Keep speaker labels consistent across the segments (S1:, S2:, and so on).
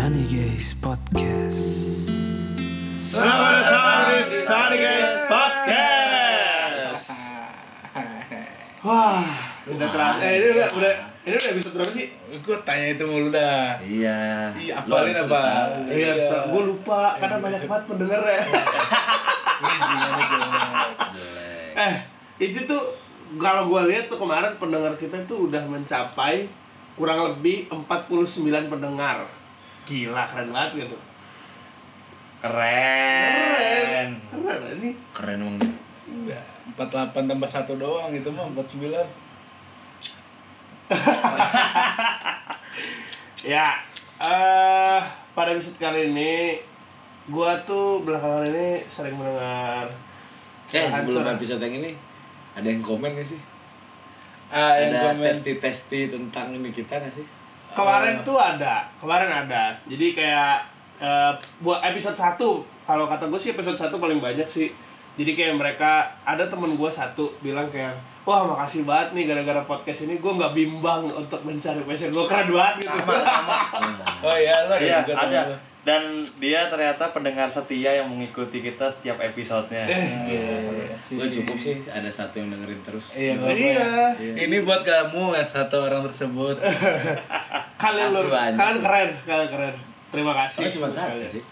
S1: Guys Podcast.
S2: Selamat datang di Sunny Guys Podcast. Wah, udah terasa. Eh, ini udah, udah, ini udah episode berapa sih?
S3: Gue tanya itu mulu dah.
S4: Iya.
S3: Iya,
S4: Lu
S3: apalin
S4: harus
S3: apa?
S4: tahu.
S2: Iya, gue lupa karena banyak banget pendengar ya. eh, itu tuh kalau gue lihat tuh kemarin pendengar kita tuh udah mencapai kurang lebih 49 pendengar. Gila, keren banget gitu. Eh.
S4: Keren.
S2: Keren ini.
S4: Keren emang gitu. dia.
S3: Enggak. 48 tambah 1 doang itu mah 49.
S2: Ya, eh pada episode kali ini gua tuh belakangan ini sering mendengar
S4: Eh,
S2: curahan-
S4: sebelum
S2: curahan.
S4: episode yang ini ada yang komen gak sih?
S3: Ah, yang
S4: Ada
S3: komen.
S4: testi-testi tentang ini kita gak sih?
S2: Kemarin tuh ada, kemarin ada. Jadi kayak eh, buat episode 1 kalau kata gue sih episode 1 paling banyak sih. Jadi kayak mereka ada temen gua satu bilang kayak Wah makasih banget nih gara-gara podcast ini gua nggak bimbang untuk mencari passion gue keren banget gitu.
S3: Oh iya, lo
S5: Iya,
S3: juga temen
S5: ada.
S3: lo.
S5: Dan dia ternyata pendengar setia yang mengikuti kita setiap episodenya.
S4: Gue cukup sih ada satu yang dengerin terus.
S3: Iya, nggak apa-apa.
S2: Iya.
S3: Ini buat kamu ya satu orang tersebut.
S2: Kalian lur,
S4: Makasih banyak.
S2: kalian keren, kalian keren. Terima kasih.
S4: Oh, cuma satu
S2: Kalian.
S4: sih.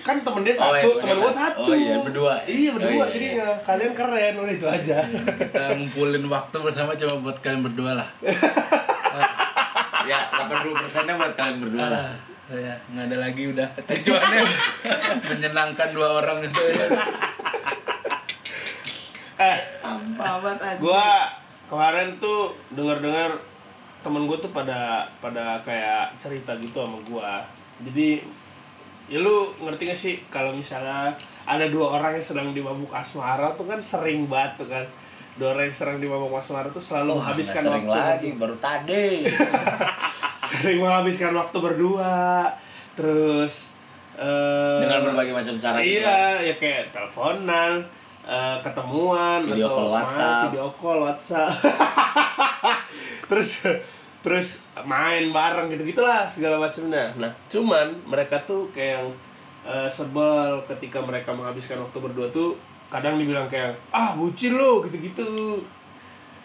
S2: kan temen dia
S4: Oh,
S2: satu,
S4: iya, temen
S2: temen
S4: dia
S2: gua
S4: satu.
S2: satu.
S4: Oh, iya, berdua ya?
S2: Iya berdua,
S4: Oh, iya,
S2: jadi
S4: iya.
S2: ya, kalian keren udah itu aja.
S3: Kita ngumpulin waktu bersama cuma buat kalian berdua lah.
S4: Ya, 80%-nya buat kalian berdua lah.
S3: Ah, ya, nggak ada lagi udah. Tujuannya menyenangkan dua orang itu. ya.
S2: eh, gua kemarin tuh dengar-dengar temen gua tuh pada pada kayak cerita gitu sama gua. Jadi ya lu ngerti gak sih kalau misalnya ada dua orang yang sedang di mabuk asmara tuh kan sering banget tuh kan. Dua orang yang sedang di mabuk asmara tuh selalu
S4: Habiskan
S2: menghabiskan
S4: sering
S2: waktu.
S4: lagi, baru tadi.
S2: Sering menghabiskan waktu berdua. Terus eh,
S4: Dengan berbagai macam cara. gitu.
S2: iya ya kayak teleponan eh, ketemuan
S4: Video
S2: atau
S4: call
S2: main
S4: WhatsApp.
S2: video call WhatsApp terus terus main bareng gitu gitulah segala macamnya nah cuman mereka tuh kayak yang eh, sebel ketika mereka menghabiskan waktu berdua tuh kadang dibilang kayak ah bucin lo gitu gitu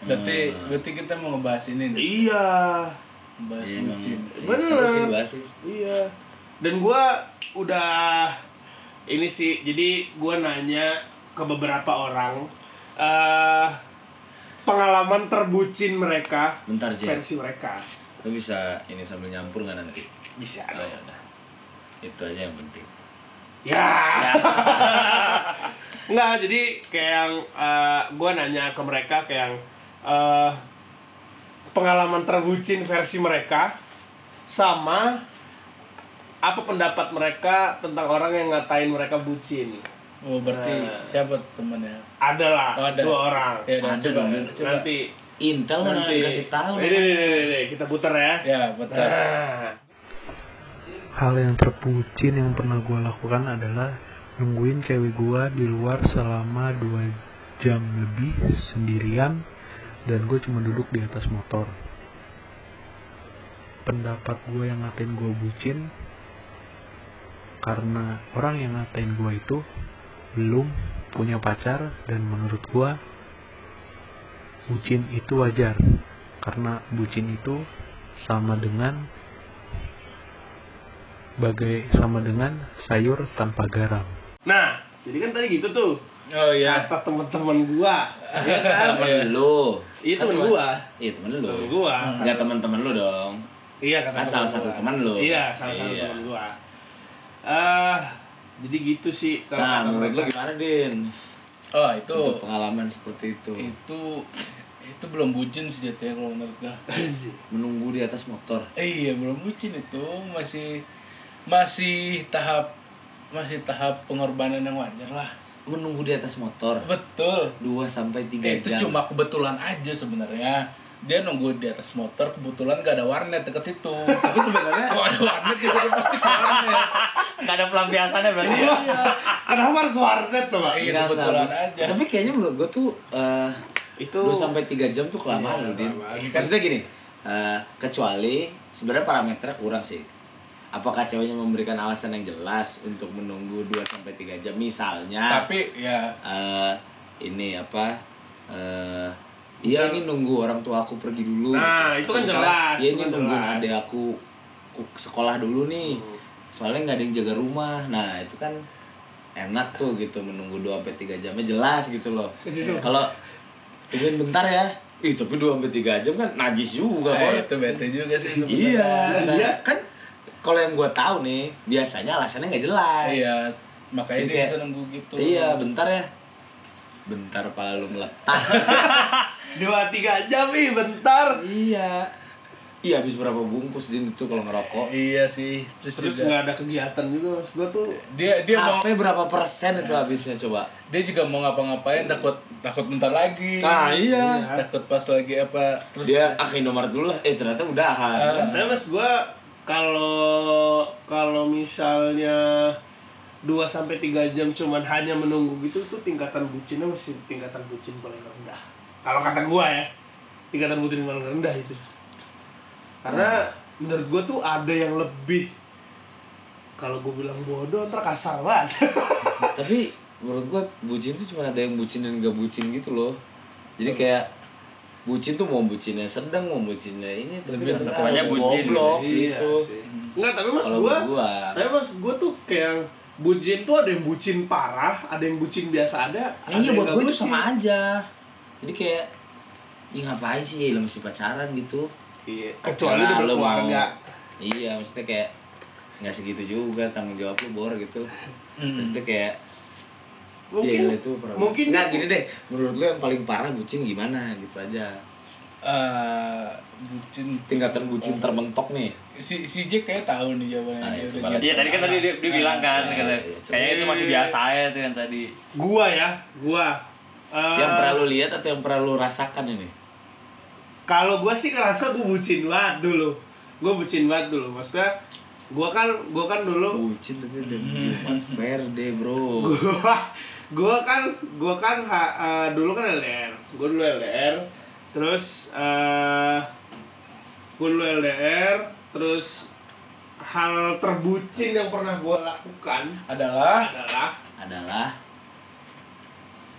S3: Berarti
S4: Iya.
S3: berarti kita mau ngebahas ini nih.
S2: iya
S3: Bahas
S4: Iya, emang.
S3: bucin.
S4: Iya,
S2: Beneran.
S4: seru sih bahas sih.
S2: Iya. Dan gua udah ini sih. Jadi gua nanya ke beberapa orang eh pengalaman terbucin mereka
S4: Bentar,
S6: Iya.
S4: Jay.
S2: versi mereka.
S4: Lu bisa ini sambil nyampur nggak nanti?
S2: Bisa.
S4: Oh,
S2: dong.
S6: iya.
S4: ya udah. Itu aja yang penting.
S2: Ya. Enggak, jadi kayak yang eh, gua nanya ke mereka kayak yang eh, pengalaman terbucin versi mereka sama apa pendapat mereka tentang orang yang ngatain mereka bucin.
S3: Oh, berarti
S4: Nah.
S3: siapa tuh temannya?
S2: Adalah
S3: Oh, ada.
S2: dua orang.
S3: Ya, udah,
S4: Ada
S3: coba,
S4: dong.
S3: coba.
S2: Nanti
S4: Intel mana
S2: nanti
S4: dikasih tahu?
S2: Ini nih, nih, nih, nih, kita putar ya.
S3: Ya, betul.
S2: Nah,
S1: Hal yang terpucin yang pernah gue lakukan adalah nungguin cewek gue di luar selama 2 jam lebih sendirian dan gue cuma duduk di atas motor. Pendapat gue yang ngatain gue bucin karena orang yang ngatain gue itu belum punya pacar dan menurut gue bucin itu wajar karena bucin itu sama dengan bagai sama dengan sayur tanpa garam.
S2: nah, jadi kan tadi gitu tuh
S3: Oh iya.
S2: kata teman-teman gua. ya kan?
S4: Temen lu.
S2: Itu temen gua.
S4: Iya temen lu.
S2: Temen gua.
S4: Enggak teman-teman lu dong.
S2: Iya
S4: Hmm.
S2: kata
S4: Kan
S2: temen
S4: salah
S2: gua.
S4: satu teman lu.
S2: Iya, salah satu
S4: Iya.
S2: teman gua. Eh, jadi gitu sih kalau
S4: Nah,
S2: kata
S4: menurut lu
S2: mereka.
S4: gimana, Din?
S3: Oh, itu
S4: Untuk pengalaman seperti itu.
S3: itu itu belum bucin sih jatuhnya kalau menurut gua.
S2: Anjir.
S4: Menunggu di atas motor.
S3: Eh, iya, belum bucin itu masih masih tahap masih tahap pengorbanan yang wajar lah.
S4: Menunggu di atas motor.
S3: Betul.
S4: 2 sampai 3
S3: Eh, itu
S4: jam.
S3: cuma kebetulan aja sebenarnya. Dia nunggu di atas motor, kebetulan gak ada warnet deket situ. Tapi sebenarnya kalau ada warnet itu pasti ke warnet.
S5: Gak ada pelampiasannya berarti ya?
S2: Kenapa harus Ah, warnet coba?
S3: Iya,
S4: Enggak, enggak.
S3: kebetulan aja.
S4: Tapi kayaknya menurut gua tuh eh
S2: Itu
S4: 2 sampai 3 jam tuh
S3: Iya, kan?
S4: kelamaan, loh, Din. Maksudnya gini, eh kecuali sebenarnya parameternya kurang sih.
S6: Apakah ceweknya memberikan alasan yang jelas untuk menunggu 2 sampai 3 jam misalnya?
S3: Tapi ya
S6: eh, ini apa? eh Iya ini nunggu orang tua aku pergi dulu.
S2: Nah, itu kan
S6: Misalnya,
S2: jelas,
S6: Iya
S2: itu
S6: ini
S2: kan
S6: nungguin
S2: jelas." Hmm.
S6: adek aku ku- sekolah dulu nih. Soalnya nggak ada yang jaga rumah. Nah itu kan enak tuh gitu menunggu 2 sampai tiga jamnya jelas gitu loh. Kalau tungguin bentar ya. Ih tapi 2 sampai tiga jam kan najis juga. Bor.
S3: eh, itu bete juga sih sebenarnya.
S6: Iya, iya kan kalau yang gue tahu nih biasanya alasannya nggak jelas.
S3: Iya, makanya
S6: Jadi
S3: dia
S6: kayak-
S3: bisa nunggu gitu.
S6: Iya, bentar ya. Bentar pala lu meletak.
S2: dua tiga jam ih bentar
S6: iya. Iya habis berapa bungkus Din itu kalau ngerokok?
S3: Iya sih, terus,
S2: terus
S3: juga
S2: nggak ada kegiatan juga maksud gua tuh
S3: dia dia mau
S6: HP ya, berapa persen itu habisnya coba?
S3: dia juga mau ngapa-ngapain takut takut bentar lagi.
S6: Ah, iya.
S3: Takut pas lagi apa terus
S6: Dia ah ke Indomaret dulu lah. Eh ternyata udahan.
S2: Nah, mas gua kalau kalau misalnya 2 sampai 3 jam cuman hanya menunggu gitu tuh tingkatan bucinnya masih tingkatan bucin paling rendah. Kalau kata gua ya, tingkatan bucin paling rendah itu. Karena menurut gua tuh ada yang lebih kalau gua bilang bodoh ntar kasar banget.
S6: Tapi menurut gua bucin tuh cuma ada yang bucin dan gak bucin gitu loh. Jadi kayak bucin tuh mau bucinnya sedang, mau bucinnya ini tapi
S3: Lebih
S6: ternyata
S5: tepatnya
S6: ada
S5: bucin.
S6: goblok
S2: iya
S6: gitu.
S2: sih. Enggak, tapi mas
S6: Kalau
S2: gua,
S6: gua.
S2: tapi mas gua tuh kayak yang bucin tuh ada yang bucin parah, ada yang bucin biasa ada.
S6: Nah, iya buat gue
S2: gua
S6: itu sama aja. Jadi kayak ya ngapain sih ya masih pacaran gitu.
S2: Iya. Kecuali
S6: Yalah,
S2: udah
S6: lu mau-
S2: berkeluarga.
S6: Iya, maksudnya kayak nggak segitu juga tanggung jawab lu bor gitu. Maksudnya kayak
S2: Mungkin
S6: ya, itu pernah-
S2: mungkin
S6: nggak gini deh. Menurut lu yang paling parah bucin gimana gitu aja.
S3: eh, bucin
S6: Tingkatan bucin termentok nih.
S3: si si Jack kayak tahu nih jawabannya.
S6: Ah, ya,
S3: Dia
S6: coba
S3: udah
S6: lah.
S5: Iya tadi kan tadi dia, dia bilang kan,
S6: iya,
S5: kata-
S6: iya, coba.
S5: kayaknya itu masih biasa aja tuh yang tadi.
S2: gua ya, gua. Eh,
S6: Yang pernah lu lihat atau yang pernah lu rasakan ini?
S2: kalau gua sih ngerasa gua bucin banget dulu. Gua bucin banget dulu. Maksudnya gua kan gua kan dulu
S6: Bucin tapi udah Jumat Verde, Bro.
S2: gua gua kan gua kan ha- eh, dulu kan LDR gua dulu LDR terus eh gua dulu LDR terus hal terbucin yang pernah gua lakukan
S3: adalah
S2: adalah
S6: Adalah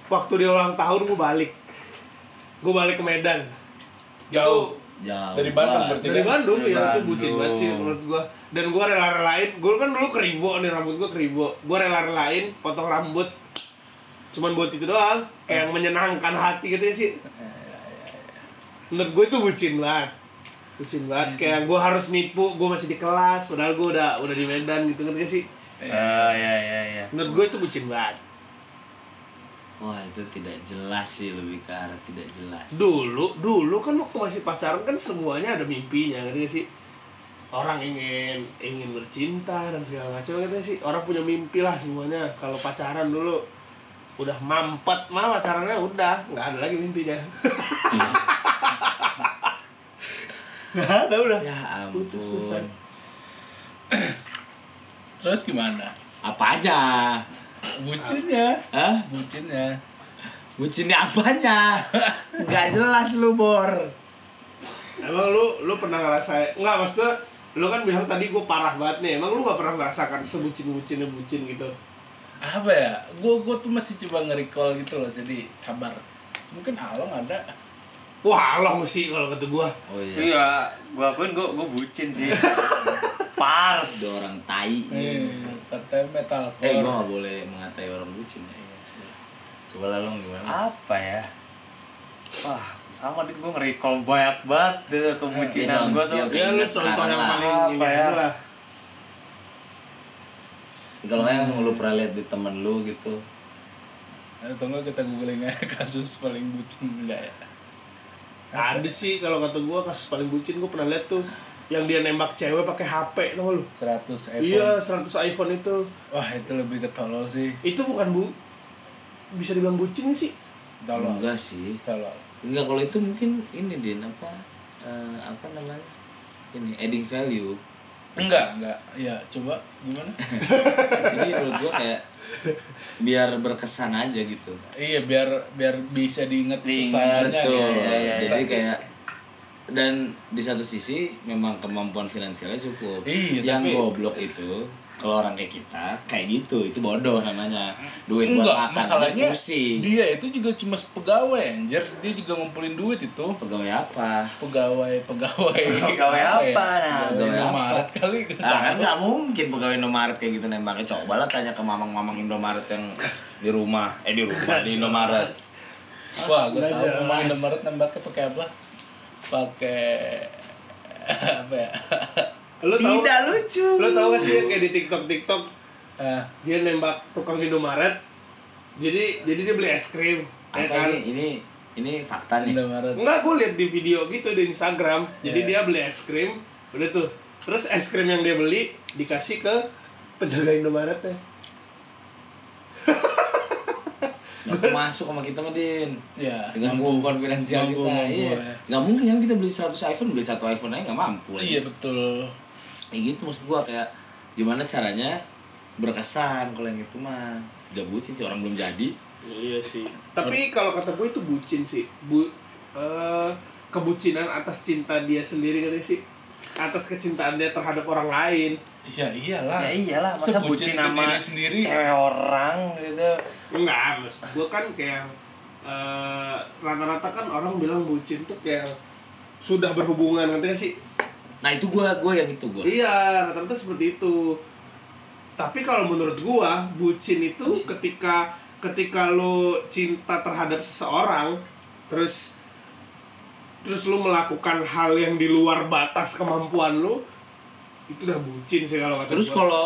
S2: waktu dia ulang tahun gua balik gua balik ke Medan
S3: jauh
S6: jauh.
S3: dari Bandung
S6: banget.
S3: berarti
S2: dari
S3: kan?
S2: Bandung ya itu bucin banget sih menurut gua dan gua rela-relain gua kan dulu keribo nih rambut gua keribo gua rela-relain potong rambut cuman buat itu doang kayak yang menyenangkan hati gitu ya sih menurut gua itu bucin banget bucin banget kayak gua harus nipu gua masih di kelas padahal gua udah udah di Medan gitu kan sih
S5: Ah iya iya iya.
S2: menurut gua itu bucin banget
S6: Wah, itu tidak jelas sih lebih ke arah tidak jelas.
S2: dulu dulu kan waktu masih pacaran kan semuanya ada mimpinya ngerti gak sih orang ingin ingin bercinta dan segala macam ngerti gak sih orang punya mimpi lah semuanya kalau pacaran dulu udah mampet mah pacarannya udah nggak ada lagi mimpinya nggak ada udah
S6: Ya
S2: Putus, selesai.
S6: ampun.
S3: Terus gimana? ya?
S6: Apa aja? Ah.
S3: Bucinnya,
S6: Hah?
S3: bucinnya.
S6: Bucinnya apanya? Gak jelas lu, Bor.
S2: emang lu lu pernah ngerasain nggak maksudnya lu kan bilang tadi gue parah banget nih emang lu nggak pernah merasakan sebucin bucinnya bucin gitu
S3: Apa ya? Gue gue tuh masih coba nge-recall gitu loh. Jadi sabar. Mungkin Along ada.
S2: wah long sih kalau kata gue
S6: Oh iya.
S5: Iya, gua akuin gua gua bucin sih. Pars.
S6: Ada orang tai.
S3: Eh, katanya metalcore.
S6: Iya. Eh, gua gak boleh mengatai orang bucin ya. Coba lah, Long, gimana?
S5: Apa ya? Wah, sama deh gua nge-recall banyak banget tuh kebucinan
S6: jangan-
S5: gua tuh.
S6: ya,
S2: ya lu
S6: Ingat
S2: contoh
S6: sekarang
S2: yang
S6: lah.
S2: paling ini
S5: Apa ya?
S2: aja lah
S6: Kalau nggak yang lu pernah lihat di temen lu gitu.
S3: Atau enggak kita googling aja kasus paling bucin enggak ya?
S2: Ada sih kalau kata gua kasus paling bucin gua pernah lihat tuh yang dia nembak cewek pakai HP tau lu.
S3: 100 iPhone.
S2: Iya, 100 iPhone itu.
S3: Wah, itu lebih ke tolol sih.
S2: Itu bukan bu bisa dibilang bucin sih.
S3: Tolol.
S6: Enggak sih.
S3: Tolol.
S6: Enggak, kalau itu mungkin ini, Din, apa? eh, apa namanya? Ini, adding value.
S3: Enggak, enggak. Ya, coba gimana?
S6: Jadi menurut gua kayak biar berkesan aja gitu.
S3: iya, biar biar bisa diinget kesananya
S5: Diingat,
S6: Betul.
S5: iya, iya, iya.
S6: Jadi kayak dan di satu sisi memang kemampuan finansialnya cukup.
S3: Iya,
S6: yang
S3: tapi-
S6: goblok itu kalau orang kayak kita kayak gitu itu bodoh namanya. Duit buat
S3: Enggak,
S6: makan
S3: masalahnya
S6: duit pusing.
S3: dia itu juga cuma pegawai anjir. Dia juga ngumpulin duit itu.
S6: Pegawai apa?
S3: Pegawai, pegawai.
S5: Pegawai apa, nah?
S3: Pegawai
S6: Pegawai apa?
S3: Indomaret kali.
S6: Ah, kan nggak mungkin pegawai Indomaret kayak gitu nembaknya. Coba lah tanya ke mamang-mamang Indomaret yang di rumah. Eh di rumah, di Indomaret.
S3: Wah, gue
S2: Nggak
S3: tahu
S2: jelas.
S3: memang Indomaret nembaknya pakai apa? Pakai apa ya?
S2: Lu tahu
S4: Tidak lucu.
S2: lu tahu gak sih yang kayak di TikTok TikTok
S3: Eh,
S2: dia nembak tukang Indomaret. Jadi jadi dia beli es krim. Ya
S3: Iya
S6: Apa
S2: kan?
S6: ini, ini ini fakta nih.
S3: Indomaret.
S2: Enggak, gue liat di video gitu di Instagram. Jadi
S6: Iya.
S2: dia beli es krim, udah tuh. Terus es krim yang dia beli dikasih ke penjaga ya. Indomaretnya.
S6: Nggak masuk sama kita ngedin.
S3: Ya.
S6: Dengan kemampuan finansial
S3: Mampu,
S6: kita.
S3: mampu,
S6: iya.
S3: ya.
S6: Nggak mungkin kan kita beli 100 iPhone, beli satu iPhone aja nggak mampu.
S3: Iya betul.
S6: Ya gitu maksud gua kayak gimana caranya berkesan kalau yang itu mah. Udah bucin sih orang belum jadi.
S2: Iya sih. Tapi kalau kata gue itu bucin sih. Bu eh, kebucinan atas cinta dia sendiri kan sih? Atas kecintaan dia terhadap orang lain.
S3: Iya iyalah.
S5: Ya iyalah, masa
S3: Sebutin
S5: bucin
S3: ke
S5: nama
S3: diri sendiri.
S5: cewek orang gitu.
S2: Enggak, mas. Gue kan kayak eh, rata-rata kan orang bilang bucin tuh kayak sudah berhubungan ngerti gak sih?
S6: Nah itu gua gua yang itu gua.
S2: Iya, rata-rata seperti itu. Tapi kalau menurut gua, bucin itu ketika ketika lo cinta terhadap seseorang, terus terus lo melakukan hal yang di luar batas kemampuan lo, itu udah bucin sih kalau kata
S6: Terus
S2: gua.
S6: kalau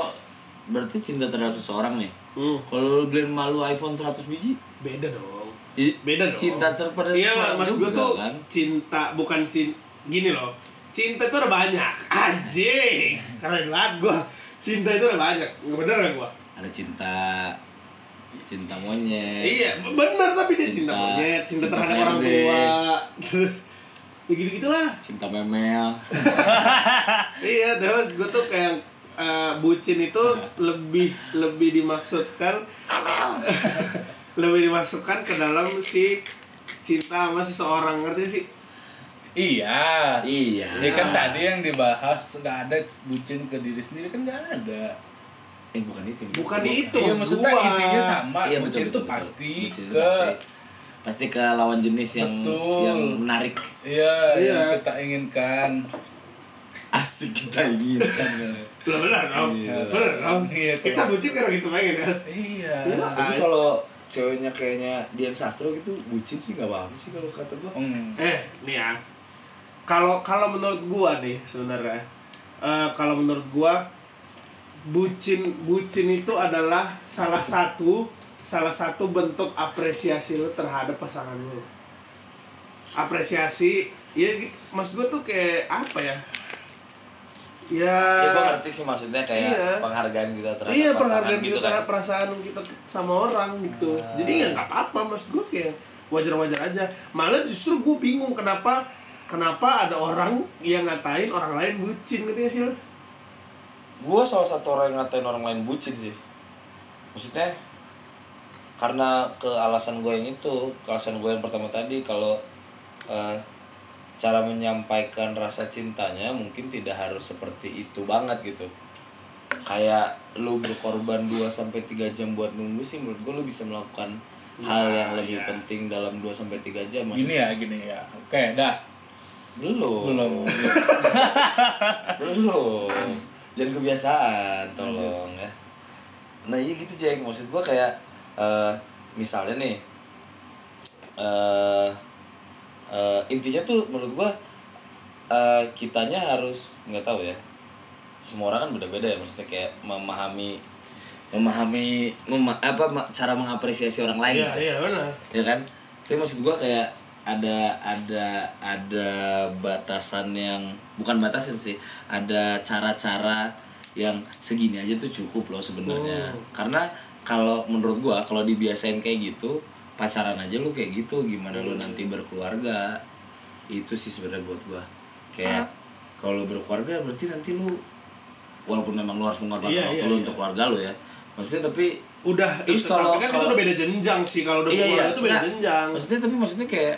S6: berarti cinta terhadap seseorang nih.
S2: Hmm,
S6: Kalau lu beliin malu iPhone 100 biji,
S2: beda dong.
S6: i-
S2: Beda dong.
S6: Cinta terhadap
S2: Iya,
S6: seseorang
S2: maksud gua
S6: juga,
S2: tuh
S6: kan?
S2: cinta bukan cinta gini loh. Cinta itu ada banyak. Anjing. Keren banget gua. Cinta itu ada banyak. Bener gak gua?
S6: Ada cinta cinta monyet.
S2: Iya, benar tapi dia cinta,
S6: Cinta-
S2: monyet, cinta,
S6: cinta
S2: terhadap
S6: VRB.
S2: orang tua, terus ya gitu gitulah.
S6: Cinta memel.
S2: iya, terus gue tuh kayak eh, bucin itu lebih lebih dimaksudkan lebih dimasukkan ke dalam si cinta sama seseorang ngerti sih?
S3: Iya.
S6: iya.
S3: Ya kan tadi yang dibahas nggak ada bucin ke diri sendiri kan nggak ada.
S6: Eh bukan itu.
S2: Bukan itu
S3: Iya
S2: maksud
S3: maksudnya
S2: gua.
S3: intinya sama.
S6: Iya,
S3: bucin
S6: betul,
S3: itu
S6: betul,
S3: pasti
S6: betul. Bucin itu
S3: ke
S6: pasti. pasti ke lawan jenis yang
S3: Betul.
S6: yang menarik.
S3: Iya,
S2: Iya.
S3: yang kita inginkan.
S6: Asik kita kan, ingin.
S2: Lah benar dong, benar dong.
S3: Iya,
S2: Kita bucin karena gitu pengen kan?
S3: Iya.
S6: Tapi kalau ceweknya kayaknya Dian Sastro gitu bucin sih nggak apa-apa sih kalau kata gua.
S3: Hmm.
S2: Eh, nih ya. Kalau kalau menurut gua nih sebenarnya. eh, kalau menurut gua bucin bucin itu adalah salah satu salah satu bentuk apresiasi lu terhadap pasangan lu. Apresiasi ya gitu. maksud gua tuh kayak apa ya? Ya,
S4: Ya gue ngerti sih maksudnya kayak
S2: Iya.
S4: penghargaan kita terhadap
S2: iya
S4: pasangan
S2: penghargaan
S4: gitu
S2: kita
S4: kan.
S2: terhadap perasaan kita sama orang gitu jadi ya nggak apa-apa maksud gue kayak wajar-wajar aja malah justru gue bingung kenapa kenapa ada orang yang ngatain orang lain bucin gitu ya sih lo
S4: Gue salah satu orang yang ngatain orang lain bucin sih. Maksudnya karena ke alasan gue yang itu, ke alasan gue yang pertama tadi kalau eh, cara menyampaikan rasa cintanya mungkin tidak harus seperti itu banget gitu. Kayak lu berkorban 2 sampai 3 jam buat nunggu sih menurut gue lu bisa melakukan hal yang lebih penting dalam 2 sampai 3 jam maksudnya.
S3: Gini ya, gini ya. Oke, dah.
S4: Belum.
S6: Oh.
S3: Belum.
S4: Belum. Jangan kebiasaan, tolong ya. Nah iya gitu Jack, maksud gua kayak eh, misalnya nih eh eh, intinya tuh menurut gua eh, kitanya harus nggak tahu ya. Semua orang kan beda-beda ya maksudnya kayak memahami
S6: memahami mema- apa ma- cara mengapresiasi orang lain
S2: iya
S6: gitu.
S2: iya benar
S6: ya kan tapi maksud gua kayak ada ada ada batasan yang bukan batasan sih ada cara-cara yang segini aja tuh cukup loh
S2: Hmm.
S6: sebenarnya karena kalau menurut gua kalau dibiasain kayak gitu pacaran aja lu kayak gitu gimana lu
S2: Hmm.
S6: nanti berkeluarga itu sih sebenarnya buat gua kayak kalau lu berkeluarga berarti nanti lu walaupun memang lu harus mengorbankan
S2: Iya,
S6: waktu
S2: iya,
S6: lu
S2: iya.
S6: untuk keluarga lu ya maksudnya tapi
S2: udah
S6: Terus
S2: itu,
S6: kalau-
S2: tapi kan itu
S6: kalau-
S2: udah beda jenjang sih kalau udah
S6: iya iya
S2: berkeluarga itu beda
S6: Nggak,
S2: jenjang
S6: maksudnya tapi maksudnya kayak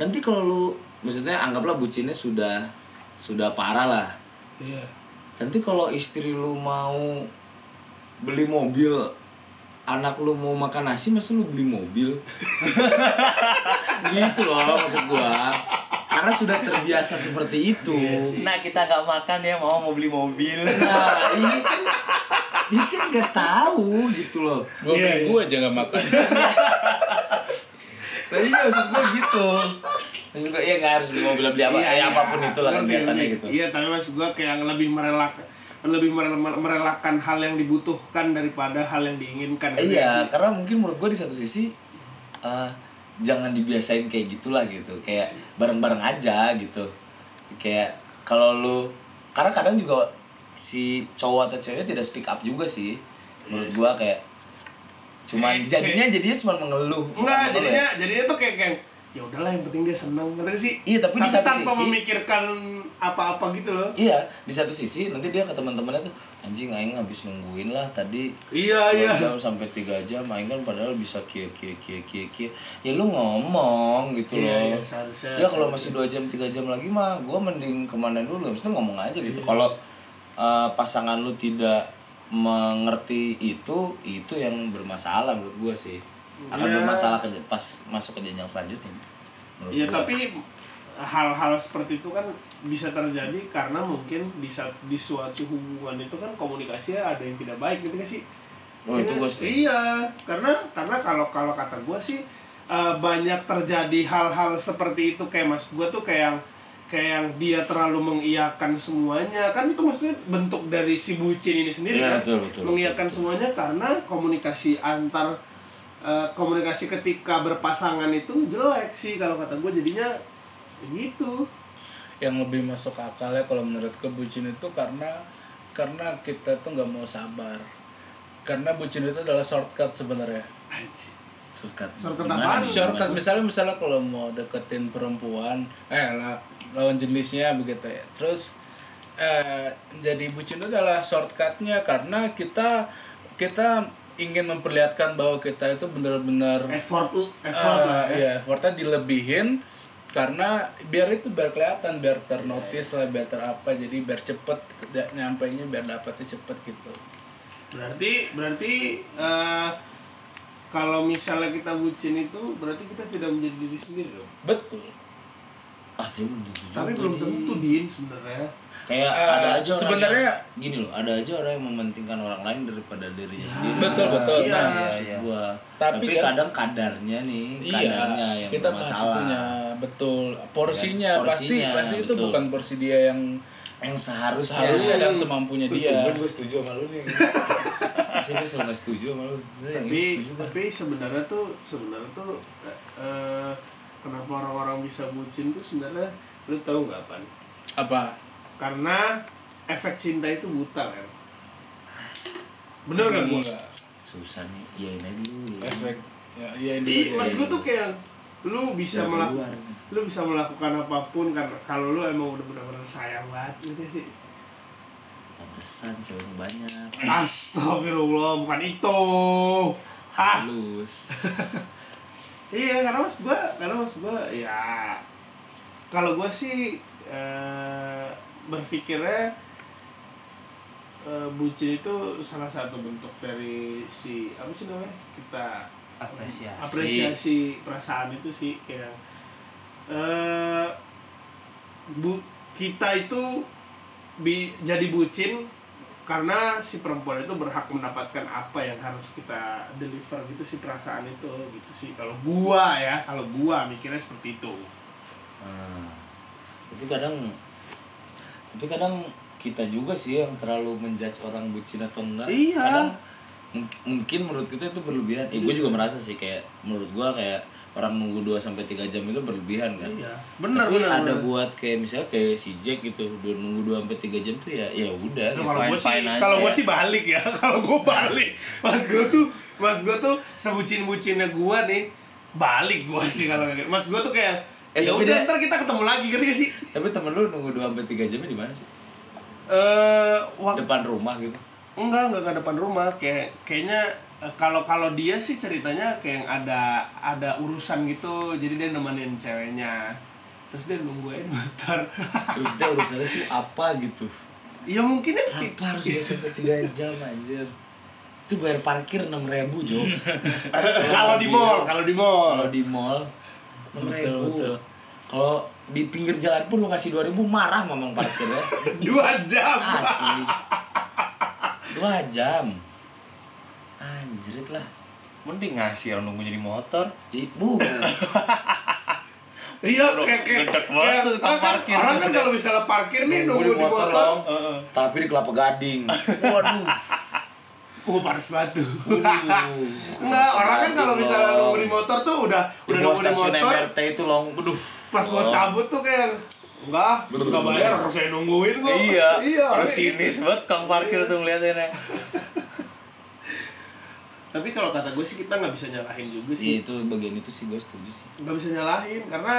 S6: nanti kalau lu maksudnya anggaplah bucinnya sudah sudah parah lah
S2: Iya.
S6: nanti kalau istri lu mau beli mobil anak lu mau makan nasi masa lu beli mobil gitu loh maksud gua karena sudah terbiasa seperti itu
S2: Iya
S5: Nah kita nggak makan ya mau mau beli mobil.
S6: nah ini kan dia kan nggak tahu gitu loh
S3: Dua minggu aja gak makan.
S6: Tapi iya maksud gue gitu Maksud gua, ya nggak harus beli mobil beli apa ya, apapun itulah
S2: Iya, Ngerti,
S6: kegiatannya
S2: ngerti.
S6: gitu
S2: Iya, tapi maksud gua kayak yang lebih merelakan lebih merel- merelakan hal yang dibutuhkan daripada hal yang diinginkan. Ngerti
S6: Iya,
S2: nggak sih?
S6: karena mungkin menurut gue di satu sisi eh, jangan dibiasain kayak gitulah gitu, kayak bareng-bareng aja gitu. Kayak kalau lu karena kadang juga si cowok atau ceweknya tidak speak up juga Iya sih. Iya, Menurut gua kayak cuman
S2: Kayak-
S6: jadinya jadinya cuman mengeluh. bukan
S2: Enggak,
S6: mengeluh
S2: jadinya
S6: ya.
S2: jadinya tuh kayak kayak ya udahlah yang penting dia seneng ngerti sih.
S6: Iya, tapi di satu
S2: tanpa
S6: sisi-
S2: memikirkan apa-apa gitu loh.
S6: Iya, di satu sisi nanti dia ke teman-temannya tuh anjing aing habis nungguin lah tadi
S2: Iya, iya.
S6: dua jam sampai tiga jam aing kan padahal bisa kia kia kia kia kia. Ya lu ngomong gitu
S2: Iya, iya,
S6: loh.
S2: seharusnya-
S6: ya kalau
S2: seharusnya.
S6: masih dua jam tiga jam lagi mah gue mending kemana dulu maksudnya ngomong aja gitu
S2: Iya.
S6: kalau uh, pasangan lu tidak mengerti itu itu yang bermasalah menurut gue sih akan
S2: Iya.
S6: bermasalah ke pas masuk ke jenjang selanjutnya menurut
S2: Iya
S6: gua.
S2: tapi hal-hal seperti itu kan bisa terjadi karena mungkin di saat di suatu hubungan itu kan komunikasinya ada yang tidak baik gitu nggak sih?
S6: Oh, itu gua setuju.
S2: Iya, karena karena kalau kalau kata gue sih eh, banyak terjadi hal-hal seperti itu kayak mas gue tuh kayak yang- kayak yang dia terlalu mengiyakan semuanya kan itu maksudnya bentuk dari si bucin ini sendiri
S6: Iya,
S2: kan
S6: betul, betul,
S2: mengiyakan semuanya karena komunikasi antar eh, komunikasi ketika berpasangan itu jelek sih kalau kata gue jadinya gitu
S3: yang lebih masuk akal ya kalau menurut gue bucin itu karena karena kita tuh nggak mau sabar karena bucin itu adalah shortcut sebenarnya
S6: shortcut
S2: Shortcut
S6: Gimana
S2: apaan?
S6: nih?
S3: shortcut misalnya misalnya kalau mau deketin perempuan eh la- lawan jenisnya begitu ya terus eh, jadi bucin itu adalah shortcutnya karena kita kita ingin memperlihatkan bahwa kita itu benar-benar
S2: effort tuh effort lah ya.
S3: Eh, iya, effortnya dilebihin karena biar itu biar kelihatan, biar ternotis lah, biar terapa, jadi biar cepet nyampe nya biar dapetnya cepet gitu.
S2: berarti berarti eh, kalau misalnya kita bucin itu berarti kita tidak menjadi diri sendiri dong
S3: Betul.
S6: ah dia belum tentu juga
S2: tapi belum
S6: nih.
S2: tentu din sebenarnya
S6: kayak
S3: Eh,
S6: ada aja orang
S3: sebenarnya-
S6: yang- gini loh ada aja orang yang mementingkan orang lain daripada dirinya sendiri
S3: Betul betul.
S2: iya.
S3: Nah,
S6: maksud gua.
S3: Tapi
S6: Tapi,
S3: kan-
S6: kadang kadarnya nih, kadarnya
S3: iya,
S6: yang
S3: kita
S6: bermasalah. Iya,
S3: masalah. betul. Porsinya,
S6: Porsinya,
S3: pasti pasti itu
S6: betul.
S3: bukan porsi dia yang
S6: Yang seharusnya.
S3: seharusnya dan semampunya dia.
S6: gue setuju sama lu nih. Sih gue selalu nggak setuju sama lu. Tapi,
S2: tapi tapi sebenarnya tuh sebenarnya tuh eh, eh, kenapa orang-orang bisa bucin tuh sebenarnya lu tahu nggak pan
S3: Apa?
S2: karena efek cinta itu buta kan bener nggak gua
S3: Enggak.
S6: susah nih. Iya ini dulu. ya.
S3: Efek. Ya, iya, ini
S2: Di,
S3: dia.
S2: maksud gua tuh kayak lu bisa
S6: Dari
S2: melakukan
S6: luar.
S2: lu bisa melakukan apapun karena kalau lu emang udah benar-benar sayang banget gitu sih
S6: Pantesan cewek lu banyak.
S2: Astagfirullah, bukan itu. Ah,
S6: Halus.
S2: iya karena mas gua, karena mas gua ya kalau gua sih eh, berpikirnya eh, bucin itu salah satu bentuk dari si apa sih namanya kita
S5: Apresiasi.
S2: apresiasi perasaan itu sih kayak eh bu kita itu bi, jadi bucin karena si perempuan itu berhak mendapatkan apa yang harus kita deliver gitu sih perasaan itu gitu sih kalau gua ya kalau gua mikirnya seperti itu
S6: Nah, tapi kadang tapi kadang kita juga sih yang terlalu menjudge orang bucin atau enggak
S2: Iya.
S6: kadang mung- mungkin menurut kita itu berlebihan eh gue juga merasa sih kayak menurut gue kayak orang nunggu 2 sampai tiga jam itu berlebihan kan
S2: Iya, benar,
S6: tapi
S2: benar,
S6: ada
S2: benar.
S6: buat kayak misalnya kayak si Jack gitu udah nunggu 2 sampai tiga jam tuh ya ya
S2: Nah,
S6: udah gitu.
S2: kalau gue sih
S5: fine-fine aja
S2: kalau gue
S5: ya.
S2: sih balik ya kalau gue balik mas gue tuh mas gue tuh sebucin bucinnya gue nih balik gue sih kalau kayak gitu. mas gue tuh kayak
S6: Eh,
S2: ya
S6: tapi
S2: udah
S6: dia-
S2: ntar kita ketemu lagi ngerti gak sih
S6: tapi temen lu nunggu 2 sampai tiga jamnya di mana sih
S2: eh waktu
S6: depan rumah gitu
S2: enggak enggak ke depan rumah kayak kayaknya eh, kalau kalau dia sih ceritanya kayak yang ada ada urusan gitu jadi dia nemenin ceweknya terus dia nungguin bentar
S6: terus dia urusannya tuh apa gitu
S2: ya mungkin ya
S6: apa harus dia sampai tiga jam anjir itu bayar parkir enam ribu jo
S2: kalau di mall kalau di mall
S6: kalau di mall enam
S3: Betul,
S6: ribu
S3: betul.
S6: kalau di pinggir jalan pun lu ngasih dua ribu marah mamang parkir ya
S2: dua
S6: Ah,
S2: jam
S6: asli dua jam anjrit lah
S5: Mending ngasih orang nunggu jadi motor.
S6: ibu
S2: iya kayak kayak
S5: Gedek banget
S2: kayak-
S5: tuh tukang
S2: kan
S5: parkir.
S2: orang kan kalau misalnya parkir nih nunggu di motor
S6: Long. tapi di kelapa gading waduh
S2: oh panas batu enggak orang kan kalau misalnya nunggu di motor tuh udah
S6: di
S2: udah
S6: bawah
S2: nunggu di
S6: stasiun
S2: motor
S6: MRT itu long aduh
S2: pas mau cabut tuh kayak enggak enggak bayar harus saya nungguin kok
S5: iya,
S2: iya orangnya
S5: orang sinis banget kang parkir tuh ya. ngeliatinnya.
S2: tapi kalau kata gue sih kita nggak bisa nyalahin juga sih
S6: Iya, itu bagian itu sih gue setuju sih
S2: nggak bisa nyalahin karena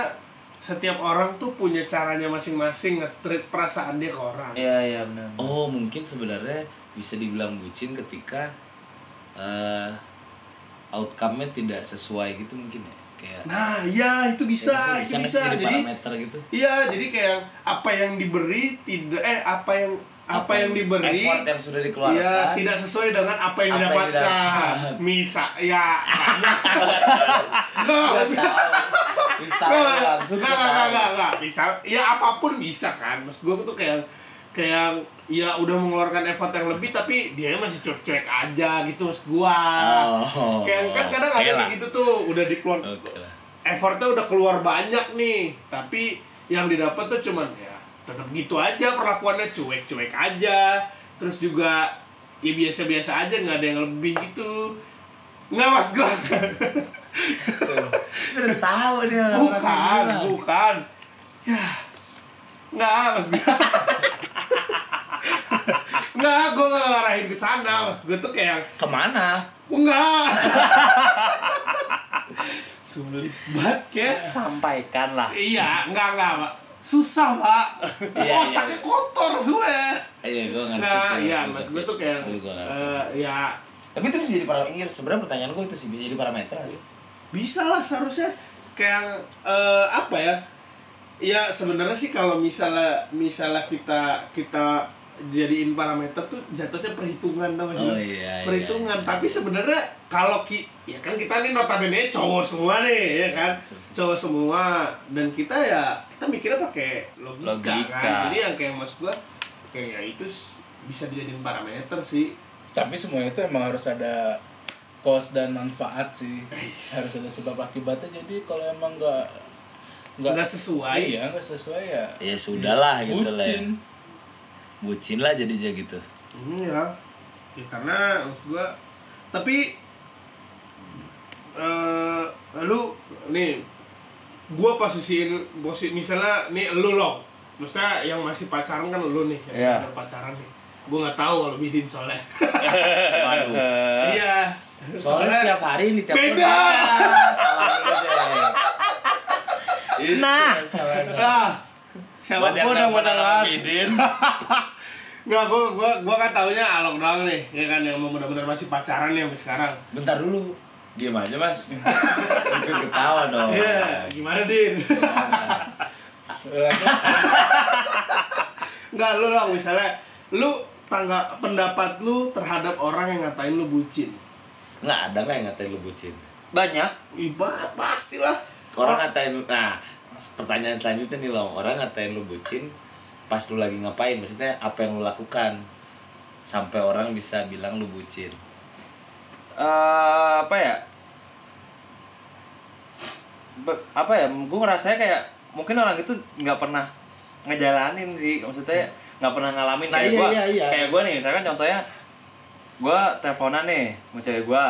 S2: setiap orang tuh punya caranya masing-masing nge-treat perasaan dia ke orang
S5: Iya iya benar.
S6: Oh mungkin sebenarnya bisa dibilang bucin ketika eh outcome-nya tidak sesuai gitu mungkin ya kayak
S2: nah iya itu bisa
S6: kayak
S2: itu bisa,
S6: jadi,
S2: jadi
S6: parameter gitu
S2: iya jadi kayak apa yang diberi tidak eh apa yang apa, yang, diberi
S6: effort yang sudah dikeluarkan
S2: Iya, tidak sesuai dengan apa yang
S6: Apa yang
S2: didapatkan.
S6: didapat.
S2: Misa, ya. Nggak,
S6: Tahu. bisa iya,
S2: Nggak,
S6: langsung
S2: nggak, nggak, nggak, nggak. bisa ya apapun bisa kan maksud gue tuh kayak kayak ya udah mengeluarkan effort yang lebih tapi dia masih cuek-cuek aja gitu maksud gua
S6: Oh.
S2: kayak kan kadang ada
S6: Oke lah.
S2: kayak gitu tuh udah dikeluar
S6: Oke lah.
S2: effortnya udah keluar banyak nih tapi yang didapat tuh cuman ya tetap gitu aja perlakuannya cuek-cuek aja terus juga ya biasa-biasa aja nggak ada yang lebih gitu nggak mas gue
S6: udah tahu dia orang
S2: bukan
S6: gila.
S2: bukan ya nggak mas gue nggak gue nggak ngarahin ke sana mas gue tuh kayak
S6: kemana
S2: enggak sulit banget ya
S5: Sampaikanlah.
S2: Iya, enggak enggak, Pak. Susah, Pak.
S6: Iya,
S2: Otaknya kotor semua.
S6: iya gue ngerti
S2: Nah,
S6: sih,
S2: iya,
S6: maksud
S2: Mas
S6: lu.
S2: gue tuh kayak
S6: Tapi gua ngerti.
S2: eh ya
S6: tapi itu bisa jadi parameter Iya, sebenarnya pertanyaan gue itu sih bisa jadi parameter nggak sih
S2: bisa lah seharusnya kayak eh, apa ya? Ya sebenarnya sih kalau misalnya misalnya kita kita jadiin parameter tuh jatuhnya perhitungan dong
S6: Oh, iya, iya,
S2: perhitungan
S6: iya.
S2: tapi sebenarnya kalau ki ya kan kita nih notabene cowok semua nih ya kan cowok semua dan kita ya kita mikirnya pakai logika,
S5: Logika.
S2: kan jadi yang kayak mas gua kayak ya itu s- bisa dijadiin parameter sih
S3: tapi semua itu emang harus ada cost dan manfaat sih harus ada sebab akibatnya jadi kalau emang nggak
S2: Nggak sesuai.
S3: iya nggak sesuai ya
S6: ya sudahlah gitu lah ya.
S3: bucin
S6: bucin lah jadi aja gitu
S2: ini ya ya karena maksud gua tapi eh lu nih gua posisiin posisi misalnya nih lu loh maksudnya yang masih pacaran kan lu nih
S5: Iya.
S2: yang pacaran nih gua nggak tahu kalau bidin soalnya
S6: Waduh.
S2: iya
S6: Soalnya tiap hari ini tiap
S2: Beda!
S6: Salah dulu deh.
S5: Nah,
S6: Iya,
S2: Nah, siapapun yang mendengar. Nggak, gua, gua, gua kan taunya Alok doang nih Ya kan, yang emang bener-bener masih pacaran nih sampai sekarang
S6: Bentar dulu. Diam aja, Mas. Ikut ketawa dong.
S2: Iya, gimana Din? Nggak, lu dong misalnya Lu tangga pendapat lu terhadap orang yang ngatain lu bucin
S6: Nggak ada nggak yang ngatain lu bucin.
S5: banyak.
S2: Ibarat pastilah
S6: Orang ngatain nah, pertanyaan selanjutnya nih, Long. Orang ngatain lu bucin pas lu lagi ngapain? Maksudnya apa yang lu lakukan sampai orang bisa bilang lu bucin?
S5: eh apa ya Be- apa ya gue ngerasanya kayak mungkin orang itu nggak pernah ngejalanin sih maksudnya nggak pernah ngalamin
S6: Nah,
S5: kayak
S6: iya,
S5: gue
S6: iya, iya.
S5: kayak gue nih misalkan contohnya gue teleponan nih sama cewek gue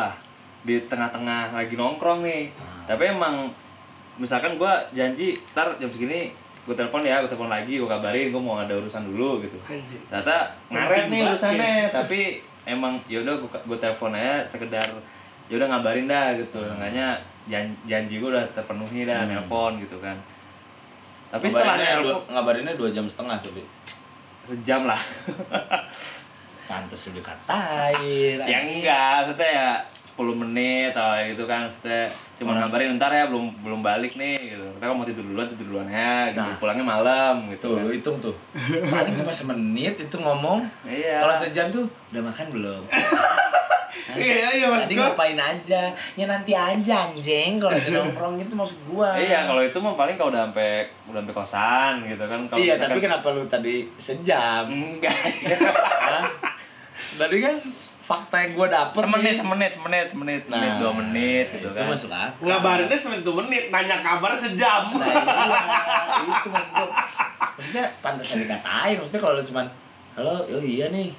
S5: di tengah-tengah lagi nongkrong nih tapi emang misalkan gue janji ntar jam segini gue telepon ya gue telepon lagi gue kabarin gue mau ada urusan dulu gitu
S2: Anjing.
S5: ternyata ngaret nih
S2: Penting
S5: urusannya tapi emang "Ya yaudah gue gue telepon aja sekedar yaudah ngabarin dah gitu makanya janji, janji gue udah terpenuhi dah nelpon gitu kan tapi setelah
S6: Ngabarinnya dua,
S5: nelpon
S6: ngabarinnya dua jam setengah tapi
S5: sejam lah
S6: pantas lu dikatain.
S5: Iya. ya enggak maksudnya ya 10 menit atau kayak gitu kan maksudnya
S6: Hmm.
S5: cuma ngabarin ntar ya belum belum balik nih gitu kita kan mau tidur duluan tidur duluan ya gitu
S6: Nah.
S5: pulangnya malam gitu
S6: Tuh,
S5: kan.
S6: lu hitung tuh. Paling cuma semenit itu ngomong.
S5: Iya.
S6: Kalau sejam tuh udah makan belum?
S2: Iya, iya, maksud
S6: Tadi
S2: gua.
S6: ngapain aja? Ya nanti aja anjing kalau lagi nongkrong itu maksud gua.
S5: iya kalau itu mah paling kalau udah sampai udah sampai kosan gitu kan kalau
S6: Iya,
S5: misalkan- Mm.
S6: tapi kenapa lu tadi sejam?
S5: enggak
S6: Hah? tadi kan fakta yang gua dapet
S5: semenit
S6: nih.
S5: semenit semenit semenit
S6: Nah,
S5: menit dua menit gitu
S6: itu
S5: kan
S6: masuk akal.
S2: Ngabarinnya 90 menit, nanya kabar sejam.
S6: Nah, iya, itu maksud gua. Maksudnya pantas dikatain, maksudnya kalau lu cuman halo, oh iya nih.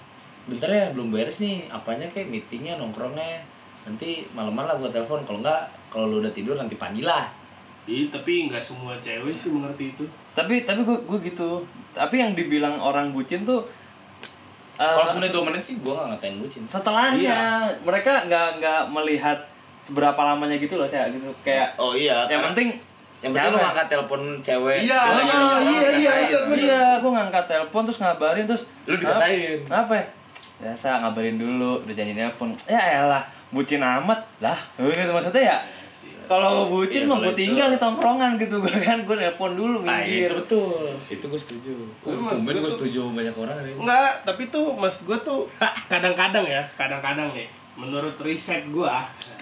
S6: Bentar ya, belum beres nih. Apanya kayak meetingnya, nongkrongnya. Nanti malaman lah gua telepon. Kalau enggak, kalau lu udah tidur nanti panggil lah.
S2: Ih, tapi nggak semua cewek sih mengerti itu.
S5: tapi tapi gue gue gitu tapi yang dibilang orang bucin tuh eh,
S6: Kalau sebenarnya dua menit sih gua nggak ngatain bucin.
S5: setelahnya
S2: Iya.
S5: mereka nggak nggak melihat seberapa lamanya gitu loh kayak gitu kayak
S6: Oh iya.
S5: yang
S6: karena-
S5: penting
S6: yang penting lu
S5: cewek.
S6: ngangkat telepon cewek.
S2: Iya,
S6: Lu
S5: Ah,
S6: lagi
S5: iya
S6: nongkrong,
S5: iya iya
S6: dikatain.
S5: bener bener gue ngangkat telepon terus ngabarin terus
S6: Lu dikatain.
S5: "Ah, apa ya biasa ngabarin dulu udah janji nelpon ya elah bucin amat lah gitu maksudnya ya kalau bucin mah gue tinggal di tongkrongan gitu gue kan gue nelpon dulu
S6: Nah,
S5: minggir
S6: itu betul. Itu gua setuju. Tumben gua setuju sama banyak orang ini.
S2: Enggak, tapi tuh mas gue tuh kadang-kadang ya, kadang-kadang nih. Menurut riset gue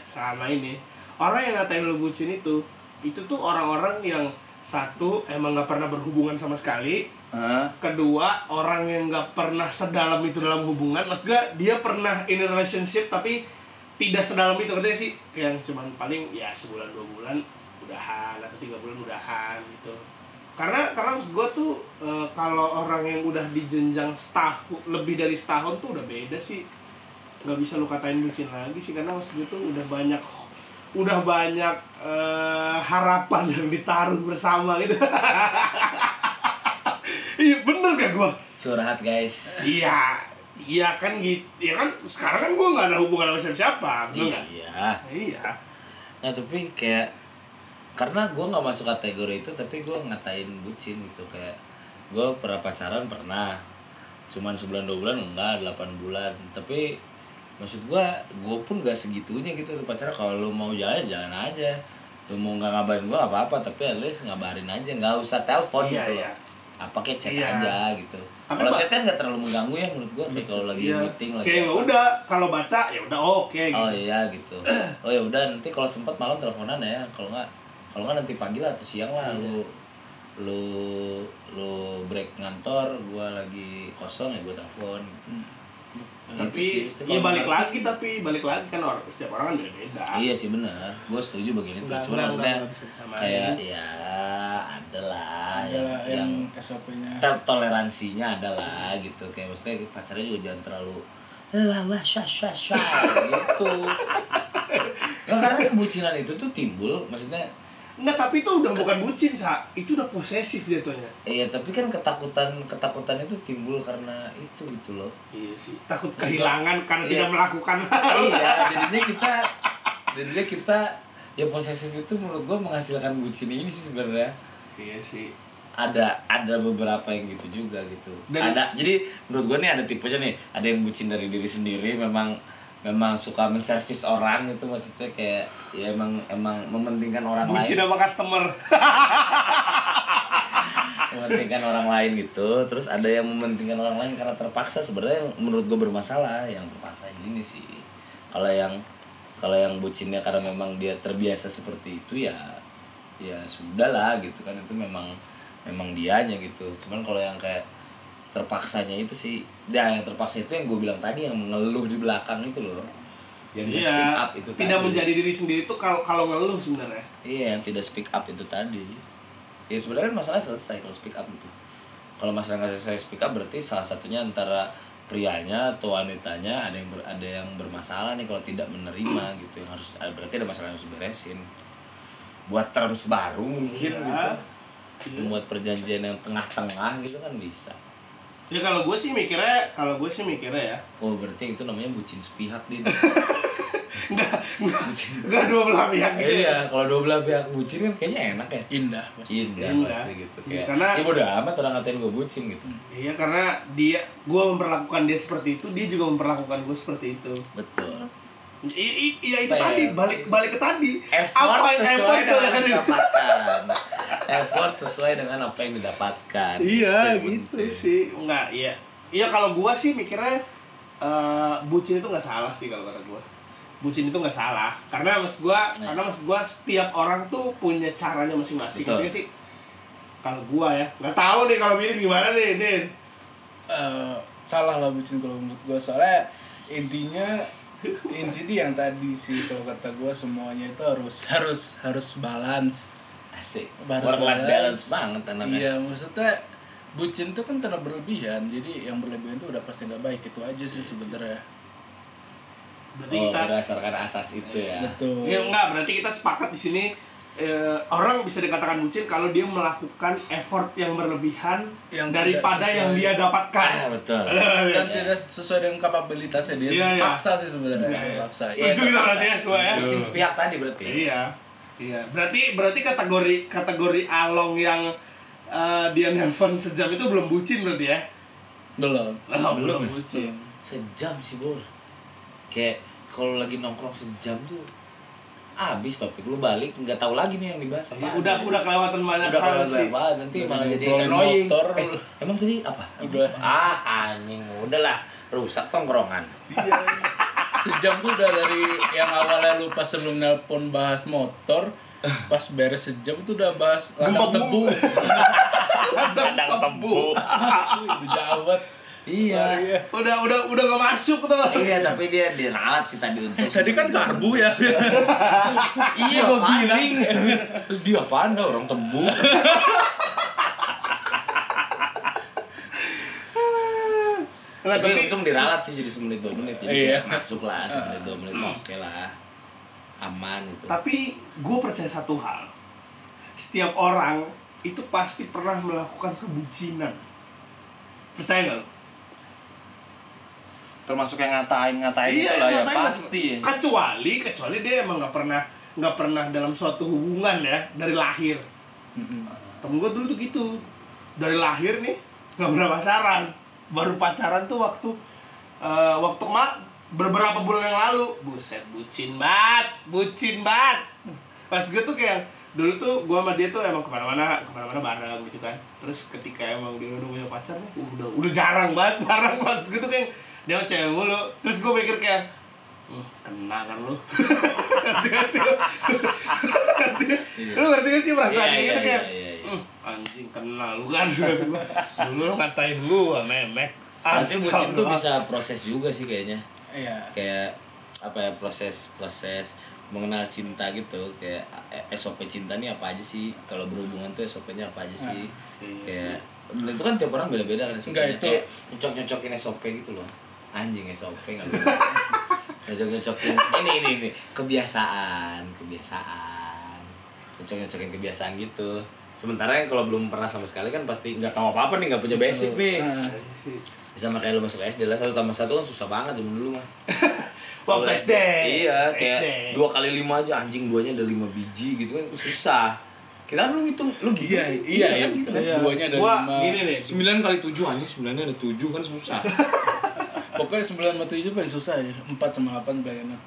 S2: selama ini, orang yang ngatain lu bucin itu, itu tuh orang-orang yang satu emang nggak pernah berhubungan sama sekali,
S5: Hah?
S2: kedua orang yang nggak pernah sedalam itu dalam hubungan, mas gue dia pernah in a relationship tapi tidak sedalam itu ngerti nggak sih yang cuman paling ya sebulan dua bulan udahan atau tiga bulan udahan gitu karena karena maksud gue tuh eh, kalau orang yang udah di jenjang setahun lebih dari setahun tuh udah beda sih nggak bisa lu katain bucin lagi sih karena maksud gue tuh udah banyak udah banyak eh, harapan yang ditaruh bersama gitu iya bener gak gue
S6: Curhat, guys.
S2: iya iya kan gitu ya kan sekarang kan gue nggak ada hubungan sama siapa siapa
S6: Iya.
S2: iya
S6: Nah tapi kayak karena gue nggak masuk kategori itu tapi gue ngatain bucin gitu kayak gue pernah pacaran pernah cuman sebulan dua bulan enggak delapan bulan tapi maksud gue gue pun gak segitunya gitu tuh pacaran kalau lu mau jalan jalan aja lu mau nggak ngabarin gue apa apa tapi at least ngabarin aja nggak usah
S2: Iya,
S6: telepon gitu
S2: iya.
S6: loh apa kayak chat
S2: Iya.
S6: aja gitu
S2: Tapi
S6: kalau
S2: ba-
S6: chat kan nggak terlalu mengganggu ya menurut gue kayak kalau lagi
S2: iya
S6: meeting lagi
S2: kayak
S6: apa.
S2: nggak udah kalau baca ya udah oke gitu
S6: Oh iya gitu. Oh ya udah nanti kalau sempat malam teleponan ya. Kalau nggak kalau nggak nanti pagi lah atau siang
S2: Iya.
S6: lah lu lu lu break ngantor, gua lagi kosong ya gua telepon. gitu. Gitu sih,
S2: Hmm. tapi
S6: mesti
S2: ya
S6: kalau
S2: balik
S6: nggak-
S2: lagi tapi balik lagi kan orang setiap orang kan beda beda
S6: Iya sih benar. Gua setuju begini tuh.
S2: Nggak,
S6: Cuma
S2: nggak,
S6: maksudnya
S2: nggak bisa disamain.
S6: kayak ya ada lah yang,
S3: adalah yang,
S6: yang
S3: SOP-nya
S6: ter- toleransinya ada lah gitu. Kayak maksudnya pacarnya juga jangan terlalu wah wah syah syah syah gitu. Nah, karena kebucinan itu tuh timbul maksudnya
S2: Nggak, tapi itu udah bukan bucin sa itu udah posesif jatuhnya
S6: Iya tapi kan ketakutan ketakutan itu timbul karena itu gitu loh.
S2: iya sih takut kehilangan karena
S6: Iya.
S2: tidak melakukan
S6: iya jadinya kita jadinya kita ya posesif itu menurut gua menghasilkan bucin ini sih sebenarnya
S2: iya sih
S6: ada ada beberapa yang gitu juga gitu.
S2: Dan-
S6: ada jadi menurut gua nih ada tipenya nih ada yang bucin dari diri sendiri memang memang suka menservis orang itu maksudnya kayak ya emang emang mementingkan orang lain.
S2: bucin sama customer
S6: mementingkan orang lain gitu terus ada yang mementingkan orang lain karena terpaksa sebenarnya yang menurut gue bermasalah yang terpaksa ini sih kalau yang kalau yang bucinnya karena memang dia terbiasa seperti itu ya ya sudah lah gitu kan itu memang memang dianya gitu cuman kalau yang kayak terpaksanya itu sih ya yang terpaksa itu yang gue bilang tadi yang mengeluh di belakang itu loh yang nggak speak
S2: iya
S6: up itu
S2: tidak
S6: tadi.
S2: menjadi diri sendiri tuh kalau kalau ngeluh sebenarnya
S6: Iya yang tidak speak up itu tadi Ya sebenarnya kan masalah selesai kalau speak up itu Kalau masalah nggak selesai speak up berarti salah satunya antara prianya atau wanitanya ada yang ber- ada yang bermasalah nih kalau tidak menerima gitu yang harus ada- berarti ada masalah yang harus diberesin buat terms baru mungkin
S2: Iya.
S6: gitu membuat perjanjian yang tengah-tengah gitu kan bisa
S2: ya kalau gue sih mikirnya kalau gue sih mikirnya ya
S6: oh berarti itu namanya bucin sepihak dia
S2: nggak nggak nggak dua belah pihak gitu ya.
S6: iya kalau dua belah pihak bucin kan kayaknya enak ya
S3: indah pasti.
S6: indah
S2: Indah.
S6: pasti gitu
S2: Iya,
S6: kayak
S2: karena-
S6: ya bodo amat orang ngatain gue bucin gitu
S2: Iya karena dia, gue memperlakukan dia seperti itu, dia juga memperlakukan gue seperti itu.
S6: Betul.
S2: I- i- Iya itu
S6: Apa ya?
S2: tadi balik balik ke tadi.
S6: effort sesuai
S2: effort
S6: dengan yang
S2: sebenarnya?
S6: didapatkan effort sesuai dengan apa yang didapatkan
S1: Iya
S6: Itu yang
S1: gitu
S6: penting.
S1: sih.
S2: Enggak, iya. Iya kalau gua sih mikirnya eh, bucin itu nggak salah sih kalau kata gua. Bucin itu nggak salah. Karena maksud gua,
S6: Iya.
S2: karena maksud gua setiap orang tuh punya caranya masing-masing.
S6: Betul.
S2: Ngerti nggak sih? Kalau gua ya, nggak tahu nih kalau Billy gimana nih,
S6: Oh,
S2: Din.
S3: eh salah lah bucin kalau menurut gue soalnya intinya intinya yang tadi sih kalau kata gue semuanya itu harus harus harus balance
S6: asik
S3: harus
S6: work life balance banget Oh, namanya
S3: iya maksudnya bucin tuh kan karena berlebihan jadi yang berlebihan tuh udah pasti nggak baik itu aja
S6: Iya
S3: sih sebenernya
S2: Berarti
S6: oh,
S2: kita
S6: berdasarkan asas itu ya
S3: betul
S2: Ya, enggak, berarti kita sepakat di sini eh, orang bisa dikatakan bucin kalau dia melakukan effort yang berlebihan
S3: Yang
S2: daripada
S3: tidak sesuai.
S2: yang dia
S6: ah
S2: dapatkan.
S6: betul
S3: dan tidak sesuai dengan kapabilitasnya dia
S2: Iya, iya.
S3: paksa sih sebenarnya
S2: Iya, iya.
S3: paksa
S2: Setuju kita berarti ya, semua ya.
S6: kucing sepihak tadi berarti ya?
S2: Iya. Iya. Berarti berarti kategori kategori Along yang eh, dia nelpon sejam itu belum bucin berarti ya?
S3: belum
S2: Oh, belum, bucin.
S6: sejam sih bor kayak kalau lagi nongkrong sejam tuh abis topik lu balik nggak tahu lagi nih yang dibahas apa
S2: Ya, udah udah kelewatan banyak
S6: udah
S2: hal
S6: kalau
S2: sih.
S6: banget nanti malah jadi
S3: ngobrolin
S6: annoying
S3: motor.
S6: eh, emang tadi apa
S3: Udah.
S6: ah anjing udahlah rusak tongkrongan
S3: sejam tuh udah dari yang awalnya lu pas sebelum nelpon bahas motor pas beres sejam tuh udah bahas
S2: Gempa
S3: ladang tebu
S2: Kadang tebu.
S3: asli udah jauh banget.
S6: iya
S2: Udah udah udah gak masuk tuh.
S6: iya tapi dia diralat sih tadi untuk
S3: tadi kan karbu ya
S6: iya gua bilang terus dia apaan dah orang tebu
S2: Nah,
S6: tapi
S2: tapi
S6: untung diralat sih jadi semenit dua menit jadi
S3: Iya.
S6: kayak masuk lah semenit dua menit oke lah aman gitu
S2: tapi gue percaya satu hal. Setiap orang itu pasti pernah melakukan kebucinan. Percaya nggak lo?
S5: termasuk yang ngatain-ngatain
S2: iya,
S5: itu lah ya
S2: ngatain
S5: pasti
S2: mas- Kan kecuali kecuali dia emang nggak pernah nggak pernah dalam suatu hubungan ya dari lahir temen gue dulu tuh gitu dari lahir nih nggak pernah pacaran baru pacaran tuh waktu eh, waktu kema- beberapa bulan yang lalu buset bucin banget bucin banget pas gue tuh kayak dulu tuh gue sama dia tuh emang kemana-mana kemana-mana bareng gitu kan terus ketika emang dia udah punya pacar nih udah udah jarang banget bareng pas gue tuh kayak dia sama cewek mulu terus gue mikir kayak "Hmm, kena kan lu ngerti gak sih lu? Ngerti gak? lu ngerti gak sih perasaan
S6: Iya,
S2: kayak
S6: iya,
S2: gitu kayak
S6: iya, iya, iya.
S2: "Hmm, anjing kenal lu kan dulu lu ngatain gua memek
S6: Berarti bucin tuh
S2: Astagfirullah.
S6: bisa proses juga sih kayaknya.
S3: iya
S6: Kayak apa ya proses-proses mengenal cinta gitu. Kayak eh, SOP cinta nih apa aja sih? Kalau berhubungan tuh SOP-nya apa aja Nah, iya sih? Kayak dan itu kan tiap orang beda-beda kan SOP-nya.
S3: Enggak, itu-
S6: Kayak nyocok-nyocokin SOP gitu loh. Anjing SOP enggak Nyocok-nyocokin ini ini ini kebiasaan, kebiasaan. Nyocok-nyocokin kebiasaan gitu. Sementara yang kalau belum pernah sama sekali kan pasti nggak tahu apa-apa nih, nggak punya basic nih
S3: Ah.
S6: sama kayak lu masuk SD lah satu tambah satu kan susah banget zaman dulu mah
S2: waktu
S6: Kalau
S2: SD
S6: iya kayak
S2: SD.
S6: dua kali lima aja anjing duanya ada lima biji gitu kan susah kita kan lu ngitung lu gitu
S3: iya
S6: sih
S3: iya iya
S6: kan gitu
S3: betul.
S6: kan.
S3: duanya ada
S2: gua
S3: lima
S2: gini nih
S6: sembilan kali tujuh anjing sembilannya ada tujuh kan susah
S3: pokoknya sembilan sama tujuh paling susah ya empat sama delapan paling enak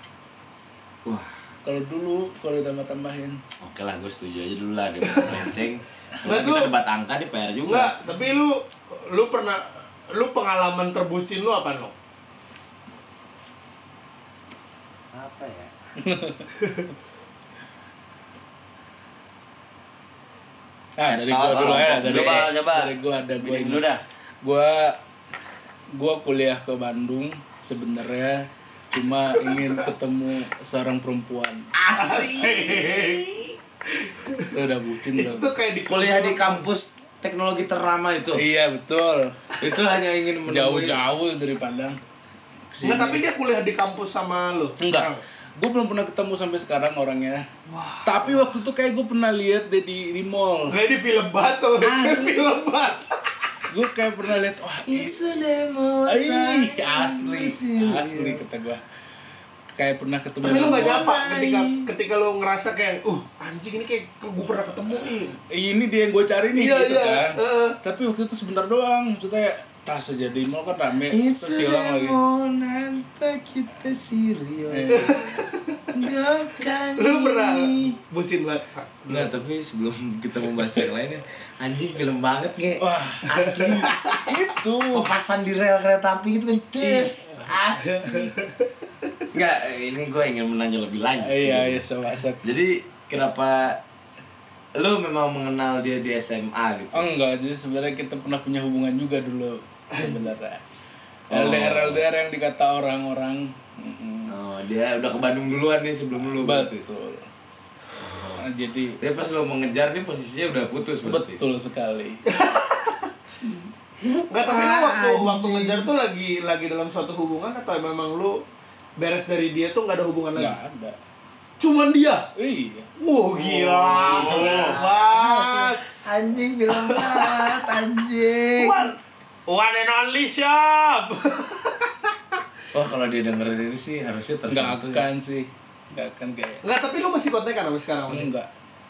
S6: wah
S3: kalau dulu kalau ditambah tambahin
S6: oke lah gue setuju aja dulu lah dia mau lonceng
S2: Nggak,
S6: Kalau kita
S2: lu-
S6: debat angka di PR juga
S2: enggak tapi lu lu pernah lu pengalaman terbucin lu apa lo
S5: apa ya
S3: ah dari gua
S6: Tolong,
S3: dulu ya dari
S5: Eh, coba coba
S3: dari gua ada gua
S5: Bikin
S3: ingat.
S5: dulu dah
S3: gua gua kuliah ke Bandung sebenarnya cuma ingin ketemu seorang perempuan
S2: asik
S3: itu udah bucin
S2: itu tuh
S3: udah
S2: kayak di
S6: kuliah di kampus teknologi ternama itu
S3: iya betul
S6: itu hanya ingin menemui
S3: jauh-jauh dari Padang
S2: Nggak, tapi dia kuliah di kampus sama lu
S3: enggak gue belum pernah ketemu sampai sekarang orangnya tapi waktu itu kayak gue pernah lihat dia di, di mall
S2: Nah, Kayak di film banget tuh,
S6: Ah.
S2: kayak film banget.
S3: gue kayak pernah lihat wah ini Ih, asli asli kata gue kayak pernah ketemu
S2: Tapi
S3: di
S2: lu gak
S3: mall.
S2: nyapa ketika ketika lu ngerasa kayak, uh anjing ini kayak gue pernah ketemu nih.
S3: ini dia yang gue cari nih
S2: Iya,
S3: gitu
S2: iya.
S3: kan
S2: Heeh.
S3: tapi waktu itu sebentar doang maksudnya tas aja di mall kan rame
S6: It's
S3: terus hilang lagi
S6: Monanta kita
S3: Eh,
S6: serius
S2: Lu pernah bucin banget. Sa.
S6: Nggak, tapi sebelum kita membahas yang lainnya Anjing film banget nge
S3: Wah.
S6: Asli Itu Papasan di rel kereta api itu kan Tis Asli Nggak, ini gue ingin menanya lebih lanjut sih.
S3: iya iya sama asap
S6: Jadi kenapa Lu memang mengenal dia di SMA gitu
S3: oh enggak jadi sebenarnya kita pernah punya hubungan juga dulu sebenarnya LDR LDR yang dikata orang-orang Mm-mm.
S6: Oh, dia udah ke Bandung duluan nih sebelum lu berarti.
S3: betul Nah, jadi
S6: Tapi pas lu mengejar nih posisinya udah putus berarti.
S3: betul sekali
S2: Enggak, tapi
S6: Ah,
S2: lu waktu waktu ngejar tuh lagi lagi dalam suatu hubungan atau memang lu beres dari dia tuh nggak Oh, ada hubungan lagi?
S3: nggak ada
S2: Cuman dia.
S3: iya
S2: Wow, gila. Seru banget.
S6: Anjing film banget, anjing.
S2: One, one and only shop.
S6: Wah kalau dia dengerin ini sih harusnya
S3: nggak
S6: tersentuh. ya.
S3: akan sih nggak akan kayak
S2: Enggak, tapi lu masih kontak kan sampai sekarang?
S6: Iya.
S2: Mon?
S3: enggak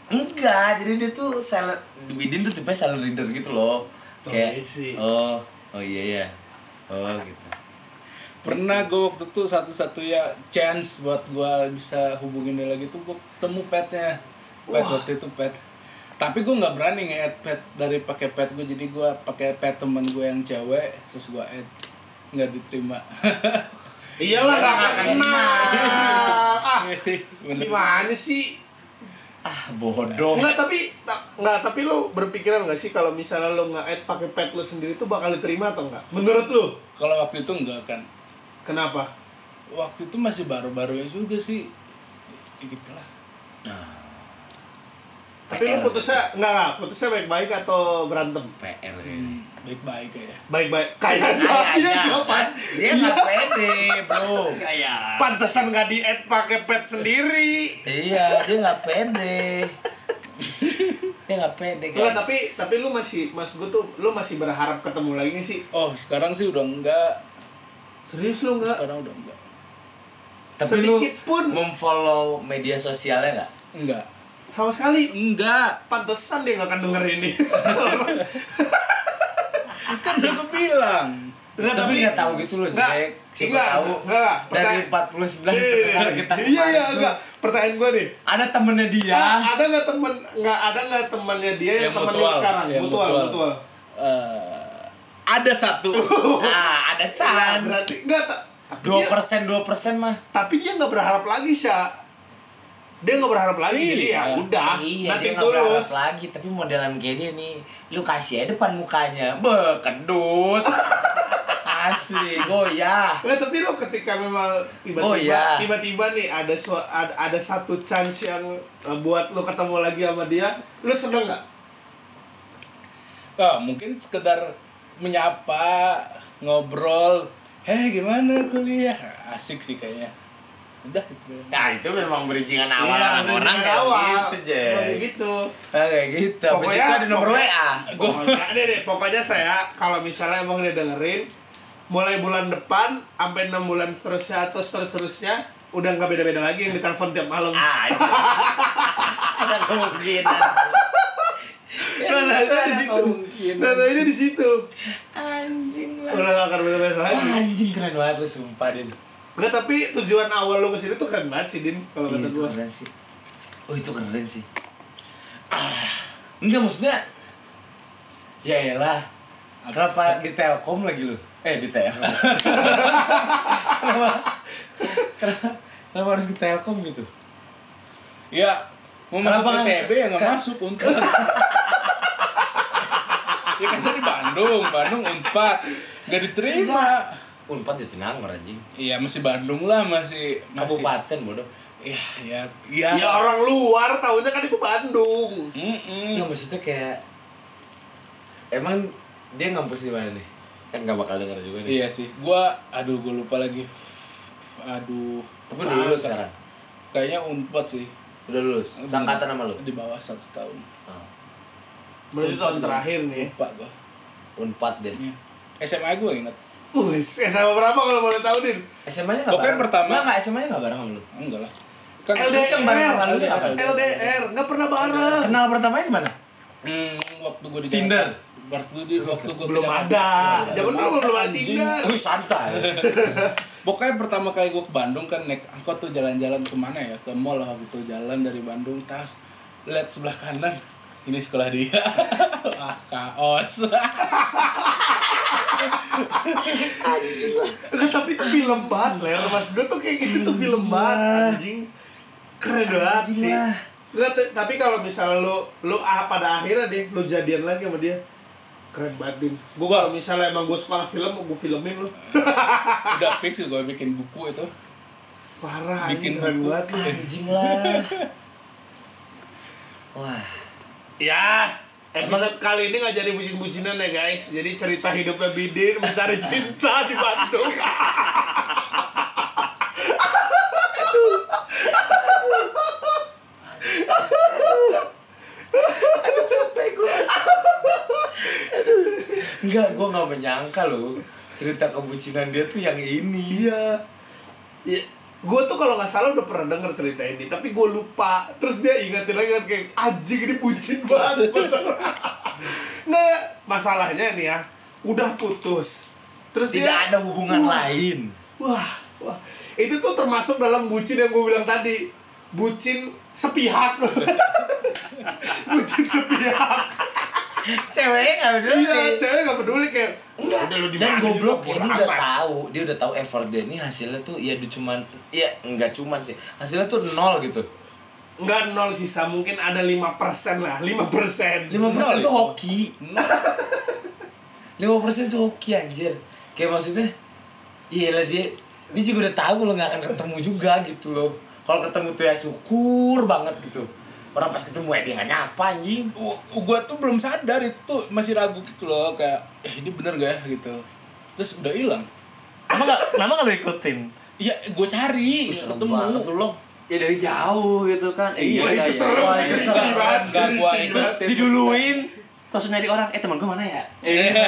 S6: Enggak, jadi dia tuh seller Bidin tuh tipe seller reader gitu loh.
S2: Tuh,
S6: Kayak
S2: isi.
S6: oh, oh iya ya. Oh gitu.
S3: pernah gue waktu itu satu-satunya chance buat gua bisa hubungin dia lagi tuh gue ketemu petnya pet waktu itu pet tapi gue nggak berani nge add pet dari pakai pet gue jadi gua pakai pet temen gue yang cewek terus gua add nggak diterima
S2: Iyalah nggak akan kenal. Ah,
S3: Bener.
S2: gimana sih?
S6: Ah bodoh.
S2: Enggak, tapi ta- nggak tapi lu berpikiran nggak sih kalau misalnya lu nge-add pakai pet lu sendiri tuh bakal diterima atau enggak? Menurut lu?
S3: kalau waktu itu nggak kan
S2: Kenapa?
S3: waktu itu masih baru-barunya juga sih Ya gitu lah
S2: Tapi lu putusnya enggak, enggak putusnya baik-baik atau berantem?
S6: PR kayaknya.
S3: Hmm, baik-baik ya
S2: Baik-baik. Kayaknya dia jawaban.
S6: Iya, kan? Dia nggak
S2: Iya.
S6: pede, bro.
S5: Kayak
S2: Pantesan nggak di-add pakai pet sendiri.
S6: iya, dia nggak pede. dia nggak pede guys.
S2: Enggak, tapi tapi lu masih mas gue tuh lu masih berharap ketemu lagi nggak sih?
S3: oh sekarang sih udah enggak
S2: Serius lu enggak?
S3: sekarang udah enggak
S6: tapi lu
S2: sedikit pun.
S6: memfollow media sosialnya nggak?
S3: enggak
S2: Sama sekali.
S3: enggak
S2: Pantesan dia nggak akan denger ini.
S3: kan udah gue bilang
S2: Enggak,
S6: tapi nggak tahu gitu loh,
S2: Enggak,
S6: Jack. Siapa
S2: enggak,
S6: tahu?
S2: enggak,
S6: Dari
S2: pertanyaan-
S6: 49
S2: Iya, iya,
S6: pendengar
S2: iya.
S6: kita. Ya?
S2: Iya, iya,
S6: kemarin
S2: enggak.
S6: tuh,
S2: Pertanyaan gue nih.
S6: Ada temennya dia.
S2: Ah, ada nggak temen nggak ada nggak temannya dia yang,
S3: Yang
S2: temen lu
S3: mutual,
S2: sekarang?
S3: yang
S2: mutual,
S3: mutual.
S2: mutual.
S3: eh ada satu
S6: Ah, ada
S2: Nah,
S6: chance.
S2: berarti enggak tak. Tapi
S6: Dua
S2: dia,
S6: persen, dua persen mah.
S2: tapi dia nggak berharap lagi, Sya. Dia nggak berharap lagi, jadi ya udah.
S6: iya,
S2: nanti
S6: dia nggak
S2: tulus.
S6: berharap lagi. Tapi modelan kayak dia nih, lu kasih aja depan mukanya, bekedut. Asli, goyah.
S2: Nggak, Eh, tapi lo ketika memang tiba-tiba
S6: Oh, iya.
S2: tiba-tiba nih ada, sua- ada ada satu chance yang eh, buat lo ketemu lagi sama dia, lo seneng nggak?
S3: Ah, mungkin sekedar menyapa ngobrol heh gimana kuliah asik sih kayaknya udah gitu.
S6: Nah, itu memang berizingan awal
S2: Iya,
S6: orang orang
S2: dari
S6: kayak
S2: awal.
S6: gitu, Jack.
S2: Kayak gitu.
S6: Ah, kayak gitu. Habis
S2: Pokoknya-
S6: itu ada nomor
S2: pokoknya-
S6: WA.
S2: Pokoknya, nih, nih, pokoknya saya kalau misalnya emang dia dengerin, mulai bulan depan sampai enam bulan seterusnya atau seterusnya udah nggak beda-beda lagi yang ditelepon tiap malam.
S6: Ah, itu. ada kemungkinan.
S2: Iya, Ranahnya nah, di situ. Ranahnya di situ.
S6: Anjing lah.
S2: Udah nggak akan beda-beda lagi.
S6: Anjing keren banget lu sumpah Din.
S2: Nggak, tapi tujuan awal lo kesini tuh keren banget sih, Din. Kalau
S6: Iya,
S2: kata
S6: itu
S2: gue.
S6: keren sih. Oh, itu keren sih. Ah, enggak maksudnya. Ya elah. Kenapa di Telkom lagi lu? Eh, di Telkom. kenapa, kenapa, kenapa harus ke Telkom gitu?
S3: ya mau masuk
S6: Kenapa?
S3: ITB ya nggak
S6: Ka-
S3: masuk untuk ya kan dari Bandung Bandung unpad nggak diterima
S6: Unpad di Tenangor anjing.
S3: iya masih Bandung lah masih masih
S6: Kabupaten bodoh.
S3: ya ya ya,
S2: Ya orang luar tahunya kan itu Bandung.
S3: Mm-mm.
S6: Enggak maksudnya kayak emang dia ngampus di mana nih? Kan gak bakal denger juga
S3: iya
S6: nih.
S3: sih gua aduh gua lupa lagi aduh
S6: Tapi udah lulus sekarang.
S3: kayaknya unpad sih
S6: Udah Iya. lulus. Sangkatan sama lu.
S3: di bawah satu tahun
S6: Ah,
S2: Berarti tahun terakhir nih. ya?
S3: lupa gua
S6: Unpad deh.
S3: Iya. SMA gue inget
S2: Us, SMA eh, berapa kalau boleh tahu, Din?
S6: SMA-nya
S3: Pokoknya pertama-
S6: Enggak, enggak SMA-nya enggak bareng sama lu.
S3: enggak lah kan
S6: Terus yang bareng sama lu apa?
S2: LDR, nggak pernah bareng.
S6: Kenal pertamanya di mana?
S3: Hmm, waktu gue di
S6: Tinder.
S3: Jakarta waktu di waktu gua
S2: belum
S3: pindah-
S2: ada zaman dulu belum ada Tinder
S3: Wih, santai. Pokoknya pertama kali gue ke Bandung kan naik angkot tuh jalan-jalan kemana ya ke mall lah gitu jalan dari Bandung tas lihat sebelah kanan ini sekolah dia wah kaos
S2: Kan tapi itu film banget ler mas gue tuh kayak gitu tuh film banget anjing keren banget sih Nggak, t- tapi kalau misalnya lo lo ah, pada akhirnya deh lo jadian lagi sama dia keren banget din gue kalau misalnya emang gue sekolah film mau gue filmin lo
S3: udah fix gue bikin buku itu
S2: parah anjing
S3: Bikin
S2: keren
S3: buku.
S2: banget lu.
S6: Anjing lah. Wah,
S2: Ya, episode kali ini nggak jadi bucin-bucinan ya guys. Jadi cerita hidupnya Bidin mencari cinta di Bandung.
S6: enggak gue nggak menyangka loh cerita kebucinan dia tuh yang ini ya.
S2: Ya, gue tuh kalau nggak salah udah pernah denger cerita ini, tapi gue lupa. Terus dia ingetin lagi kan kayak anjing ini bucin banget. bener." nah, masalahnya nih ya, udah putus. Terus
S6: Tidak
S2: dia,
S6: ada hubungan lain.
S2: wah, wah, itu tuh termasuk dalam bucin yang gue bilang tadi. Bucin sepihak. bucin sepihak.
S6: Ceweknya nggak
S2: Iya, cewek gak peduli kayak Enggak, udah lu
S6: Dan
S2: dimana
S6: goblok
S2: juga, bodo
S6: ya dia udah
S2: amat."
S6: tahu, dia udah tahu effort dia ini hasilnya tuh ya di cuman ya enggak cuman sih. Hasilnya tuh nol gitu.
S2: Enggak nol sisa, mungkin ada 5% lah 5%
S6: 5% tuh hoki. 5% tuh hoki anjir. Kayak maksudnya Iya lah dia dia juga udah tahu kalau nggak akan ketemu juga gitu loh. Kalau ketemu tuh ya syukur banget gitu. Orang pas ketemu ya dia nggak nyapa anjing.
S3: gue tuh belum sadar itu tuh masih ragu gitu loh kayak eh, ini bener gak ya gitu terus udah hilang
S5: Kenapa nggak kenapa nggak lu ikutin?
S3: ya gue cari nggak
S6: Serem
S3: ketemu
S6: banget tuh lo.
S5: Ya dari jauh gitu kan. Eh,
S2: iya, Wah, itu serem
S5: Wah,
S2: sih,
S5: itu
S2: itu
S5: serem.
S2: serem banget.
S3: Gak gua itu
S5: Diduluin. Terus nyari orang, eh teman gue mana ya? Eh.
S3: Iya,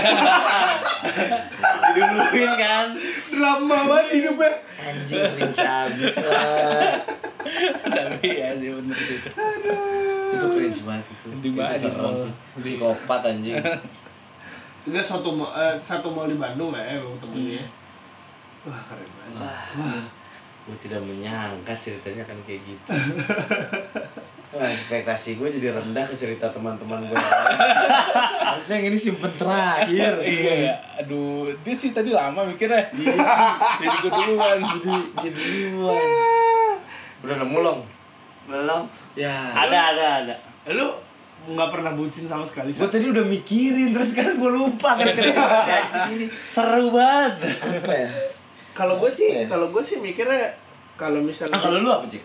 S5: Diduluin kan.
S2: Drama banget hidupnya
S6: Anjing cringe abis lah.
S3: tapi ya sih bener gitu
S6: itu cringe banget itu.
S3: Di mana
S6: itu serem
S3: itu?
S6: sih. Psikopat anjing.
S2: Enggak, suatu, ma- eh, satu mall di Bandung lah ya, lu ketemu dia Wah, keren banget
S6: gue tidak menyangka ceritanya akan kayak gitu Wah, ekspektasi gue jadi rendah ke cerita teman-teman gue harusnya yang ini simpen terakhir
S3: iya ya. aduh dia sih tadi lama mikirnya Iya jadi gue duluan jadi
S6: jadi duluan udah nemu long
S5: Belum.
S6: ya
S5: Ada ada ada.
S2: Hmm. Lu nggak pernah bucin sama sekali
S6: gue
S2: Sa?
S6: tadi udah mikirin terus sekarang gue lupa kan ini
S5: Seru banget.
S6: apa ya
S2: Kalau gue sih,
S6: Iya.
S2: kalau gue sih mikirnya kalau misalnya
S6: Ah, kalau lu apa cik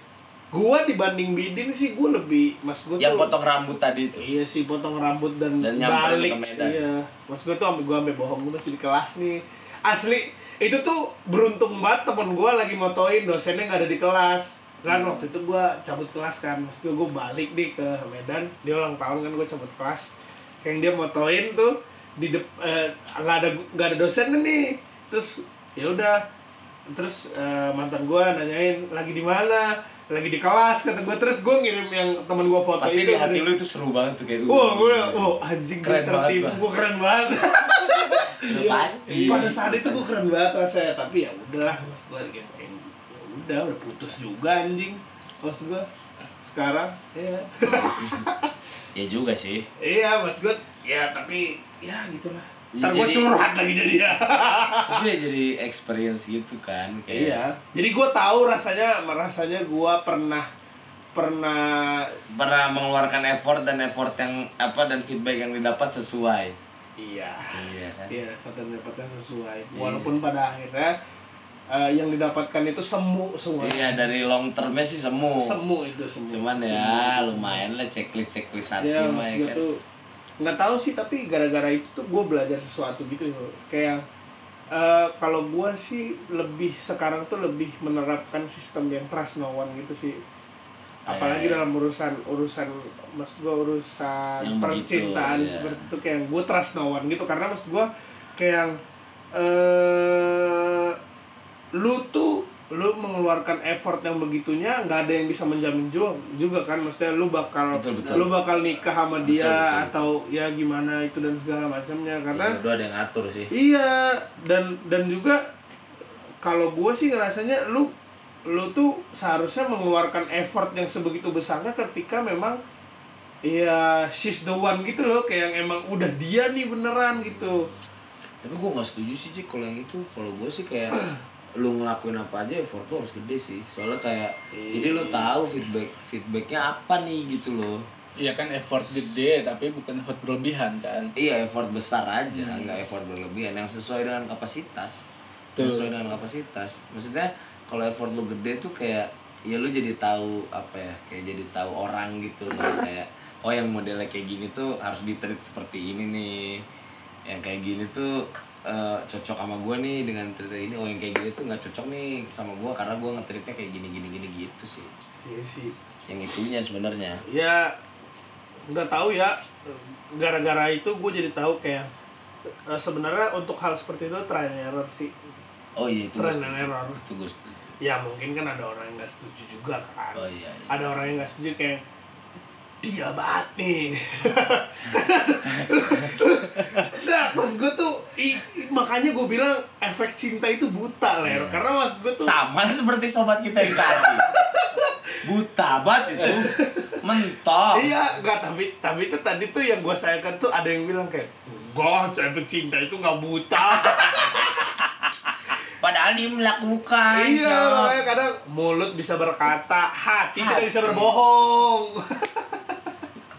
S2: gue dibanding Bidin sih gue lebih mas gue
S6: yang
S2: tuh
S6: potong rambut tadi itu
S2: Iya sih potong rambut dan,
S6: gitu. Dan nyamperin
S2: balik.
S6: ke Medan.
S2: Iya. Mas gue tuh ambil gue ambil bohong gue masih di kelas nih. Asli itu tuh beruntung banget temen gue lagi motoin dosennya nggak ada di kelas. Kan
S6: Hmm.
S2: waktu itu gue cabut kelas kan. Mas gue gue balik nih ke Medan. Dia ulang tahun kan gue cabut kelas. Kayak dia motoin tuh di dep eh, nggak ada nggak ada dosennya nih. Terus ya udah terus eh, mantan gue nanyain lagi di mana lagi di kelas kata gue terus gue ngirim yang temen gue foto
S6: pasti
S2: itu kan
S6: di hati lu itu seru banget tuh kayak "Uh,
S2: Wah, gue, wah anjing gue
S6: Keren banget,
S2: tertipu,
S6: Bang.
S2: gue keren banget.
S6: Itu pasti
S2: Pada saat itu gue keren banget rasanya, tapi ya udahlah, mas gue kayak, kayak, ya udah, udah putus juga anjing, mas gue sekarang, ya,
S6: ya juga sih
S2: iya mas gue, ya tapi ya gitulah.
S6: Ya,
S2: Ntar gue
S6: jadi- Iya.
S2: curhat lagi jadi ya.
S6: tapi ya jadi experience gitu kan kayak
S2: Iya. Jadi gue tahu rasanya, rasanya gue pernah pernah
S6: pernah mengeluarkan effort dan effort yang apa dan feedback yang didapat sesuai
S2: iya
S6: iya kan
S2: Iya, dapatkan dapatkan sesuai.
S6: Iya.
S2: Walaupun pada akhirnya eh, yang didapatkan itu semu semua.
S6: iya dari long termnya sih semu
S2: Semu itu semu.
S6: cuman ya lumayan lah checklist checklist hati
S2: Ya,
S6: mah
S2: maksud
S6: ya
S2: gue
S6: kan
S2: tuh nggak tahu sih tapi gara-gara itu tuh gue belajar sesuatu gitu loh. kayak eh, kalau gue sih lebih sekarang tuh lebih menerapkan sistem yang trust no one gitu sih apalagi
S6: Eh.
S2: dalam urusan urusan mas gue urusan
S6: Yang
S2: percintaan
S6: begitu, ya.
S2: seperti itu kayak gue trust no one gitu karena mas gue kayak eh lu tuh lu mengeluarkan effort yang begitunya nggak ada yang bisa menjamin juga juga kan maksudnya lu bakal
S6: Betul, betul.
S2: lu bakal nikah sama dia atau ya gimana itu dan segala macamnya karena
S6: Itu ada yang ngatur sih.
S2: Iya, dan dan juga kalau gue sih ngerasanya lu lu tuh seharusnya mengeluarkan effort yang sebegitu besarnya ketika memang ya she's the one gitu loh kayak yang emang udah dia nih beneran gitu.
S6: Tapi gue gak setuju sih Cik kalau yang itu. Kalau gue sih kayak lu ngelakuin apa aja effort tuh harus gede sih. Soalnya kayak
S2: Iya.
S6: jadi lu tahu feedback feedbacknya apa nih gitu loh.
S3: Iya kan effort gede tapi bukan effort berlebihan kan.
S6: Iya effort besar aja, nggak effort berlebihan yang sesuai dengan kapasitas.
S3: Tuh.
S6: Sesuai dengan kapasitas. Maksudnya kalau effort lu gede tuh kayak ya lu jadi tahu apa ya, kayak jadi tahu orang gitu loh kayak oh yang modelnya kayak gini tuh harus ditreat seperti ini nih. Yang kayak gini tuh eh, cocok sama gue nih dengan treat ini. Oh yang kayak gini tuh nggak cocok nih sama gue karena gue ngetreatnya kayak gini gini gini gitu sih.
S2: Iya sih.
S6: Yang itunya sebenarnya.
S2: ya nggak tahu ya gara-gara itu gue jadi tahu kayak eh, sebenarnya untuk hal seperti itu trial and error sih
S6: Oh iya itu gue
S2: trial and
S6: setuju.
S2: error
S6: Itu gue setuju.
S2: ya mungkin kan ada orang yang nggak setuju juga kan
S6: Oh iya. iya.
S2: ada orang yang nggak setuju kayak dia banget nih nggak mas gue tuh i- i- makanya gue bilang efek cinta itu buta
S6: Iya.
S2: ler karena mas gue tuh
S5: Sama seperti sobat kita yang tadi. Buta banget itu. Mentok.
S2: iya nggak tapi tapi itu tadi tuh yang gue sayangkan tuh ada yang bilang kayak Enggak, efek cinta itu nggak buta
S5: Padahal dia melakukan.
S2: Iya,
S5: Sob.
S2: makanya kadang mulut bisa berkata, hati, tidak bisa berbohong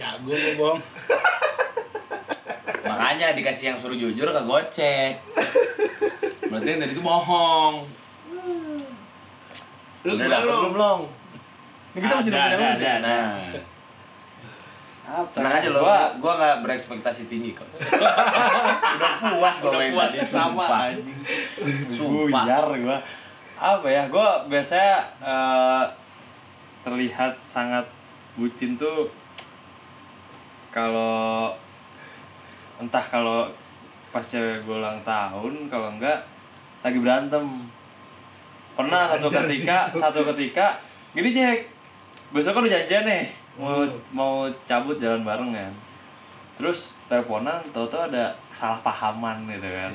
S3: Jago lu, Bong.
S6: Makanya dikasih yang suruh jujur ke gocek. Berarti yang tadi itu bohong.
S2: Lu
S6: Udah
S2: gimana
S6: dapet belum,
S2: lu?
S6: Long?
S5: Ini kita masih
S6: ada,
S5: dapat
S6: ada, ada, nah. Tenang aja lo, gua, gua gak berekspektasi tinggi kok.
S5: Udah puas gua
S6: Udah
S5: main
S6: puas,
S5: tadi
S6: sama,
S5: sumpah.
S6: anjing.
S5: Sumpah. gua. Apa ya? Gua biasanya eh, terlihat sangat bucin tuh kalau entah kalau pas cewek gue ulang tahun kalau enggak lagi berantem pernah satu
S2: Anjir,
S5: ketika satu ketika gini Jack besok kan udah janjian nih mau mau cabut jalan bareng kan terus teleponan tau-tau ada kesalahpahaman gitu kan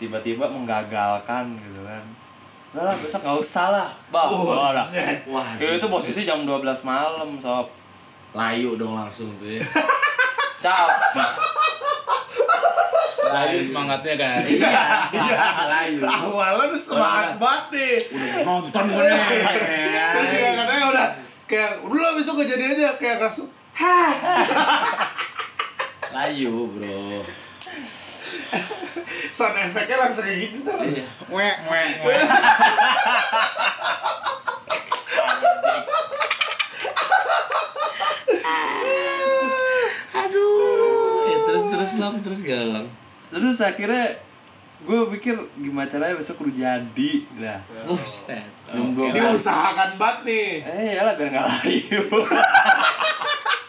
S5: tiba-tiba menggagalkan gitu kan udah lah besok gak usah lah bah
S2: Oh,
S5: udah.
S2: set.
S6: Wah,
S5: itu posisi jam 12 malam sob
S6: layu dong langsung tuh ya.
S5: capek
S3: Layu semangatnya kan.
S6: layu.
S2: Awalnya udah semangat banget nih
S6: Nonton gue nih.
S2: Terus
S6: Iya,
S2: juga katanya udah kayak, udah lah besok kejadiannya kayak langsung Hah,
S6: Layu, Bro.
S2: sound efeknya langsung kayak gitu terus
S6: Iya.
S3: Wek, wek, wek.
S6: Ya, terus terus Long, terus galang.
S5: terus akhirnya gue pikir gimana caranya besok kudu jadi lah
S6: Buset.
S5: Jam 12.
S2: Diusahakan banget nih
S5: eh iyalah biar nggak layu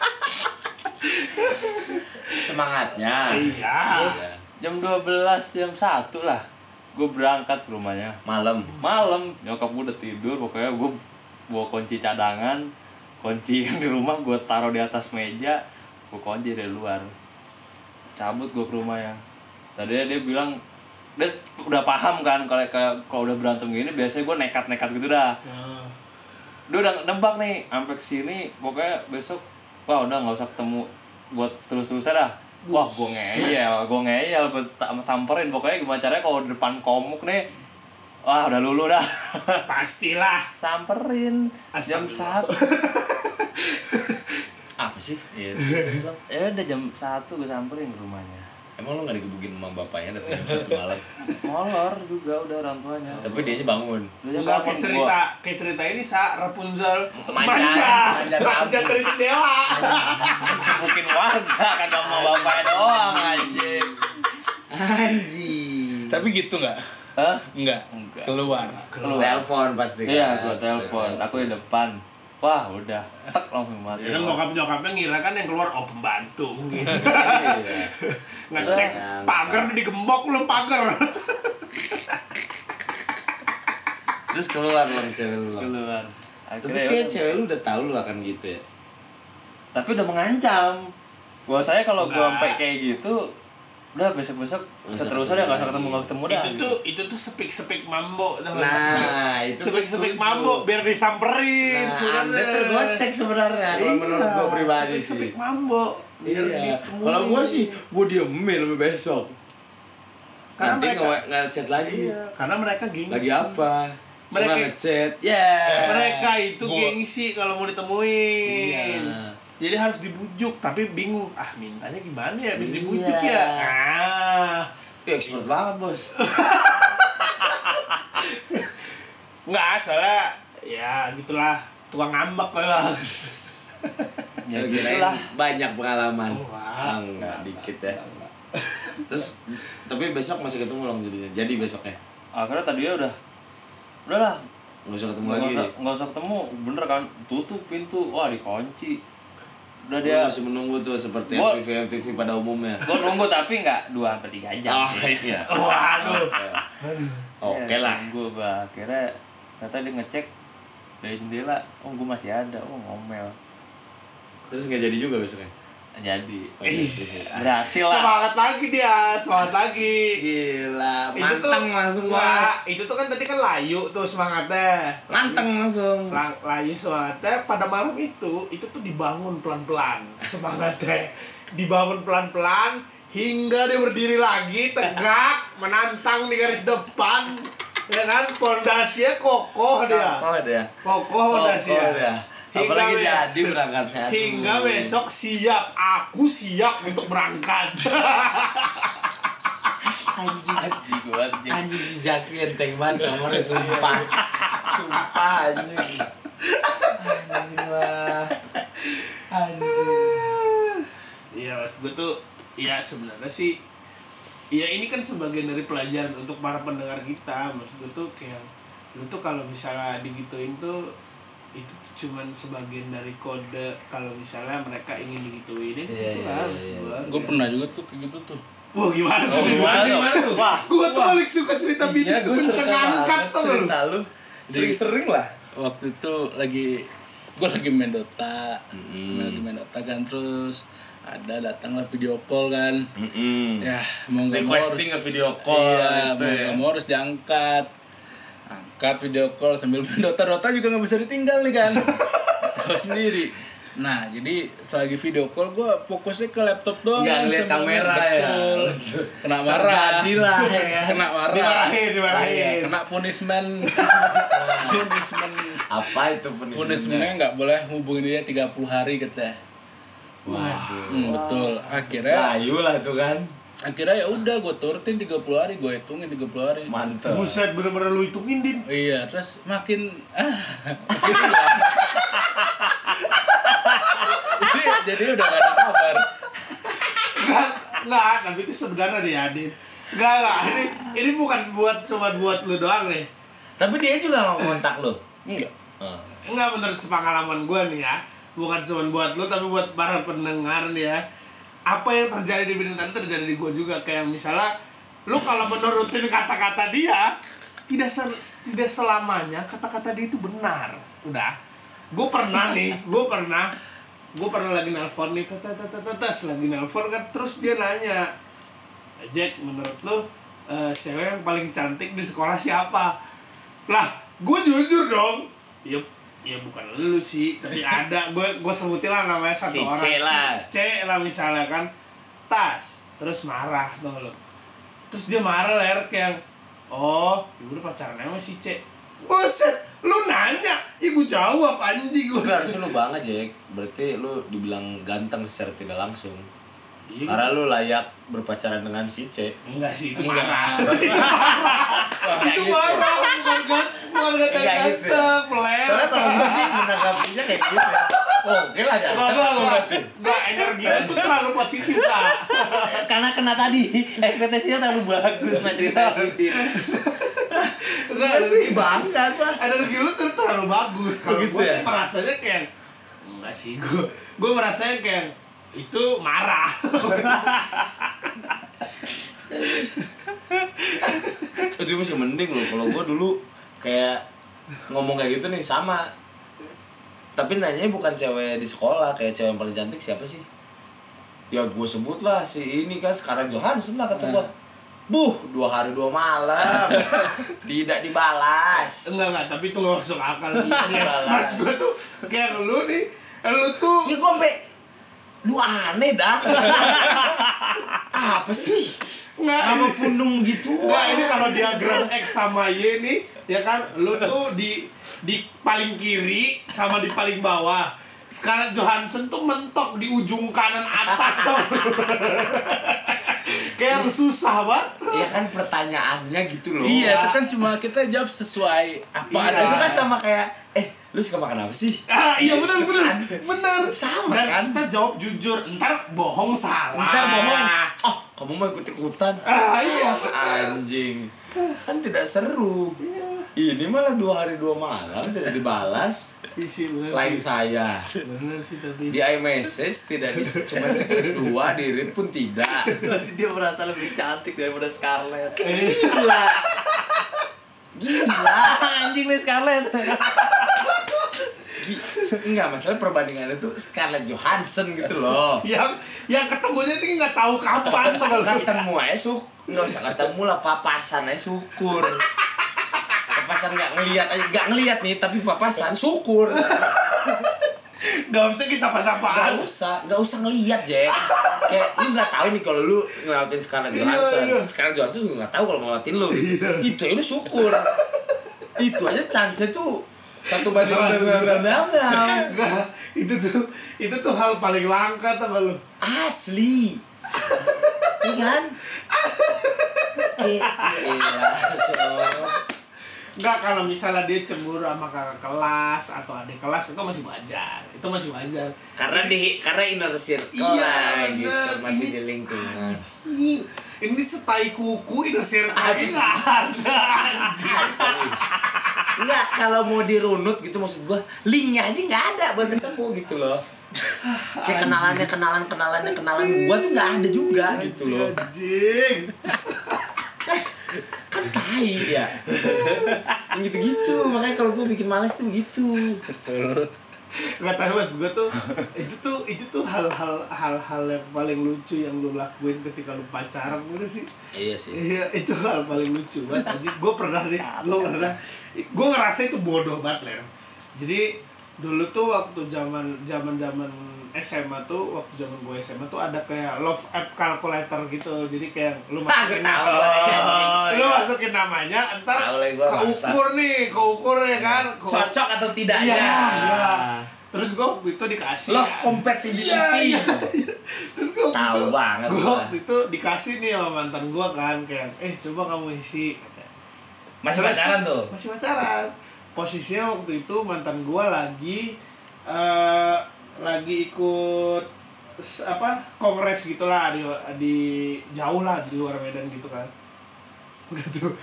S6: Semangatnya.
S2: Iya
S5: jam 12 jam 1 lah gue berangkat ke rumahnya
S6: Malam.
S5: malam nyokap gue udah tidur pokoknya gue bawa kunci cadangan kunci yang di rumah gue taruh di atas meja gue kunci dari luar cabut gue ke rumahnya tadinya dia bilang dia s- udah paham kan kalau kalau- kalau udah berantem gini biasanya gue nekat-nekat gitu dah dia udah nebak nih sampai ke sini pokoknya besok wah udah nggak usah ketemu buat terus-terusan dah wah gue ngeyel gue ngeyel gue ta- samperin pokoknya gimana caranya kalau di depan komuk nih wah udah lulu dah
S2: Pastilah
S5: samperin jam satu
S6: Apa sih? Iya. terus, Long.
S5: ya udah jam satu gue samperin ke rumahnya
S6: Emang lo gak dikebukin sama bapaknya datang jam satu malam?
S5: molor juga udah orang tuanya
S6: Tapi dia bangun.
S5: Udah jam
S2: Enggak
S5: bangun
S2: kayak
S5: gua.
S2: cerita Kayak cerita ini Sa Rapunzel
S6: Manja. Manja
S2: Manja
S6: rambut.
S2: Manja dari jendela
S5: Mungkin warga kagak mau bapaknya doang anjing
S6: Anjing.
S3: Tapi gitu nggak?
S5: Hah?
S3: Nggak.
S5: Enggak.
S3: Keluar.
S5: keluar
S6: Telepon pasti. kan?
S5: iya gue telepon aku di depan wah udah tek langsung mati
S2: Jadi nyokap-nyokapnya Kan ngira kan yang keluar oh pembantu mungkin.
S6: Iya.
S2: Ngecek
S6: Iya.
S2: pagar digembok belum pagar.
S6: terus keluar loh cewek lu Bang.
S5: keluar
S6: tapi
S5: akhirnya ya
S6: kayak cewek lu udah tahu lu akan gitu ya
S5: tapi udah mengancam gua saya kalau gua sampai kayak gitu udah besok besok seterusnya udah nggak usah ketemu nggak ketemu dah
S2: itu tuh itu tuh sepik sepik mambo
S6: nah itu
S2: sepik sepik mambo biar disamperin
S6: Nah, anda
S2: sebenarnya
S6: tergocek sebenarnya kalau menurut gua pribadi sih
S2: sepik Iya, mambo biar
S6: Iya.
S2: ditemuin.
S6: Kalau gua sih, gua diemin sampai besok.
S2: Karena
S6: Nanti
S2: mereka-
S6: nge- ngechat lagi.
S2: Iya, karena mereka gengsi
S6: Lagi apa?
S2: Mereka-
S6: Mereka ngechat. Ya.
S2: mereka itu gengsi kalau mau ditemuin
S6: Iya.
S2: jadi harus dibujuk tapi bingung ah mintanya gimana ya bisa
S6: Iya.
S2: dibujuk ya ah
S6: Dia expert banget, Bos.
S2: nggak salah ya gitulah tukang ngambek memang
S5: ya
S6: Gua
S5: gitu
S6: kirain
S5: lah
S6: Banyak pengalaman.
S2: Enggak.
S6: Ah, enggak, dikit ya. Terus tapi besok masih ketemu dong jadinya. Jadi besoknya.
S5: akhirnya tadinya udah udahlah
S6: Enggak usah ketemu
S5: nggak
S6: lagi.
S5: usah nggak usah ketemu bener kan tutup pintu wah dikunci udah
S6: Dia
S5: dia
S6: masih menunggu tuh seperti
S5: Gua-
S6: FTV FTV pada umumnya.
S5: gua nunggu tapi nggak dua sampai tiga jam
S6: Ah,
S5: sih.
S6: iya.
S2: waduh
S6: Oke
S5: Ya,
S6: lah.
S5: Gue bah, akhirnya ternyata dia ngecek dari jendela, oh gue masih ada, oh ngomel.
S6: Terus nggak jadi juga besoknya.
S5: Jadi
S6: Ih, Iya.
S5: berhasil lah.
S2: semangat lagi dia semangat lagi
S6: Gila,
S2: itu tuh
S6: manteng Iya. langsung,
S2: Wah,
S6: Bos.
S2: itu tuh kan tadi kan layu tuh semangatnya
S6: Manteng langsung.
S2: Lang, layu semangatnya pada malam itu itu tuh dibangun pelan-pelan semangatnya dibangun pelan-pelan hingga dia berdiri lagi tegak menantang di garis depan ya kan pondasinya kokoh dia
S6: Oh, ada.
S2: kokoh
S6: dia.
S2: pondasinya hingga
S6: Apalagi
S2: bes-
S6: jadi berangkatnya. Aduh.
S2: hingga besok siap aku siap untuk berangkat
S5: Anjing gue anjing.
S6: Anjing jejaki enteng banget
S3: Iya.
S6: comornya sumpah. sumpah anjing. Anjing lah.
S2: Iya mas, gue tuh ya sebenarnya sih ya ini kan sebagian dari pelajaran untuk para pendengar kita maksud gue tuh kayak lu tuh kalau misalnya digituin tuh itu tuh cuman sebagian dari kode kalau misalnya mereka ingin
S6: Iya,
S2: digituin ya gitu lah maksud gue
S3: gue pernah juga tuh kayak gitu tuh
S2: wah gimana tuh
S5: Gimana tuh? Wah,
S2: gue tuh paling suka cerita bini
S6: Oh, Iya,
S2: tuh
S6: gua suka
S2: mencengangkan
S6: banget
S2: tuh lu
S6: cerita lu. Sering-sering lah.
S3: waktu itu lagi gue lagi main Dota Gua lagi main Dota kan terus ada datanglah video call kan ya mau nggak mau harus
S6: Requesting ke video call.
S3: iya
S6: gitu
S3: mau
S6: ya.
S3: nggak mau harus diangkat angkat video call sambil main Dota Dota juga nggak bisa ditinggal nih kan tahu sendiri nah jadi selagi video call gue fokusnya ke laptop doang
S6: Nggak
S3: kan,
S6: ngeliat
S3: sambil main.
S6: kamera ya.
S3: Betul. kena marah
S6: Terjadi lah, ya kan.
S3: kena marah
S2: Dimarahin, dimarahin.
S3: Iya, kena punishment punishment
S6: Apa itu punishmentnya?
S3: punishmentnya nggak boleh hubungin dia 30 hari katanya
S6: Waduh.
S3: Hmm, betul akhirnya
S6: Layu lah tuh kan.
S3: akhirnya ya udah gue turutin 30 hari gue hitungin 30 hari
S6: Mantep.
S2: buset bener-bener lu hitungin din
S3: iya terus makin ah makin hilang. jadi, jadi udah gak ada kabar
S2: Nggak, nggak, tapi itu sebenarnya nih Adin Nggak, nggak, ini, ini bukan buat cuma buat lu doang nih
S6: Tapi dia juga nggak kontak lu.
S3: enggak
S2: Enggak menurut sepengalaman gue nih ya Bukan cuma buat lu tapi buat para pendengar nih ya Apa yang terjadi di bintang tadi terjadi di gue juga Kayak misalnya Lu kalau menurutin kata-kata dia Tidak sel- tidak selamanya kata-kata dia itu benar Udah Gue pernah nih Gue pernah Gue pernah lagi nelfon nih Tetetetetes lagi nelfon kan Terus dia nanya Jack menurut lu eh, cewek yang paling cantik di sekolah siapa? Lah, gue jujur dong. Ya, ya bukan lu sih, tapi ada gue gue sebutin lah namanya satu
S6: Si
S2: orang.
S6: C lah.
S2: Si C lah misalnya kan. Tas, terus marah dong lu. Terus dia marah ler kayak oh, ya udah pacarnya sama si C. Buset, lu nanya, ibu jawab anjing gue.
S6: Tapi harusnya lu banget Jack Berarti lu dibilang ganteng secara tidak langsung
S2: Iya.
S6: Karena lu layak berpacaran dengan si C
S2: Enggak sih, itu
S3: Enggak.
S2: marah. itu marah. itu marah, bukan kan, bukan ada
S6: Enggak gitu.
S2: ganteng, peler.
S6: Soalnya kalau gue sih menanggapinya kayak gitu ya Oh oke lah ya
S2: Enggak, enggak, enggak. Enggak, energi lu tuh terlalu positif, Sa.
S5: karena kena tadi ekspektasinya terlalu bagus sama cerita gitu.
S2: Enggak sih,
S6: banget lah
S2: energi lu tuh terlalu bagus. Kalau
S6: Begitu
S2: gue sih
S6: ya?
S2: merasanya kayak enggak sih gue. Gue merasanya kayak itu marah.
S6: Itu masih mending loh Kalau gue dulu kayak ngomong kayak gitu nih sama tapi nanyanya bukan cewek di sekolah kayak cewek yang paling cantik siapa sih ya gue sebut lah si ini kan sekarang Johansen lah kata gue buh dua hari dua malam tidak dibalas
S2: Enggak enggak, tapi itu nggak masuk akal
S6: Iya,
S2: sih. Mas gue tuh kayak lu nih, lu tuh
S6: ya gue sampe lu aneh dah apa sih
S2: nggak
S6: sama pundung gitu
S2: Enggak, ini kalau diagram X sama Y nih, ya kan, lu tuh di di paling kiri sama di paling bawah. Sekarang Johansen tuh mentok di ujung kanan atas tau. Kayak susah banget.
S6: ya kan pertanyaannya gitu loh
S3: Iya, itu kan cuma kita jawab sesuai apa
S6: Iya.
S3: adanya.
S6: itu kan sama kayak eh lu suka makan apa sih
S2: Ah, iya benar benar. Benar.
S6: Kan? Sama
S2: Dan
S6: kan?
S2: kita jawab jujur, ntar bohong salah.
S6: ntar bohong oh kamu mau ikut ikutan
S2: Ah, iya.
S6: anjing kan tidak seru
S2: Iya.
S6: ini malah dua hari dua malam tidak dibalas
S2: Isi
S6: lain saya
S2: Benar sih tapi.
S6: di iMessage tidak di, cuma checklist dua di read pun tidak
S5: Berarti dia merasa lebih cantik daripada Scarlett.
S6: gila gila
S5: Anjing nih Scarlett.
S6: Enggak, masalah perbandingan itu Scarlett Johansson gitu loh
S2: Yang yang ketemunya ini nggak tahu kapan tau nggak lu?
S6: ketemu aja suk nggak usah ketemu lah papasan aja syukur papasan nggak ngelihat aja nggak ngelihat nih tapi papasan syukur
S2: Nggak usah
S6: nggak
S2: disapa-sapaan.
S6: usah nggak usah ngelihat Jack kayak lu nggak tahu nih kalau lu ngelawatin Scarlett Johansson
S2: Iya, iya.
S6: Scarlett Johansson juga nggak tahu kalau ngelawatin lu itu ya lu syukur itu aja chance tuh satu banding
S2: Bener, bener,
S6: enam
S2: Enggak, itu tuh itu tuh hal paling langka tau gak lu
S6: Asli. Iya kan? Iya,
S2: Enggak, kalau misalnya dia cemburu sama kakak kelas atau adik kelas itu masih wajar itu masih wajar
S6: karena di karena inner circle
S2: Iya,
S6: lah,
S2: bener.
S6: gitu masih
S2: Ini-
S6: di lingkungan.
S2: Ih, ini setai kuku inner circle nggak ada anjir
S6: Enggak, Iya, kalau mau dirunut gitu maksud gua, linknya aja nggak ada buat ketemu gitu loh. Kayak kenalannya kenalan kenalannya kenalan gua tuh nggak ada juga gitu loh.
S2: anjing
S6: Kan tai ya. Yang gitu-gitu, makanya kalau gua bikin males tuh gitu.
S2: nggak tahu mas gue tuh itu tuh itu tuh hal-hal hal-hal yang paling lucu yang lu lakuin ketika lu pacaran gitu sih
S6: Iya sih.
S2: Iya, itu hal paling lucu banget anjing. Gue pernah nih, gue pernah. Gue ngerasa itu bodoh banget, Ler. Jadi dulu tuh waktu zaman zaman zaman SMA tuh waktu zaman gue SMA tuh ada kayak love app calculator gitu jadi kayak
S6: Ah,
S2: lu masukin nama iya. lu masukin namanya
S6: Oh, iya. Tahu
S2: entar
S6: lah gua, Iya.
S2: keukur nih keukur ya kan Keu-
S6: Cocok atau tidaknya?
S2: Iya, iya. Terus gue waktu itu dikasih
S6: Love
S2: kan.
S6: compatibility.
S2: Iya, iya. Terus gue waktu
S6: Tahu
S2: itu,
S6: banget
S2: gua
S6: gua.
S2: waktu itu dikasih nih sama mantan gue kan kayak, eh coba kamu isi. katanya.
S6: Masih
S2: Terus-
S6: pacaran tuh?
S2: Masih pacaran. Posisinya waktu itu mantan gue lagi eh lagi ikut s- apa kongres gitulah di di jauh lah di luar Medan gitu kan udah tuh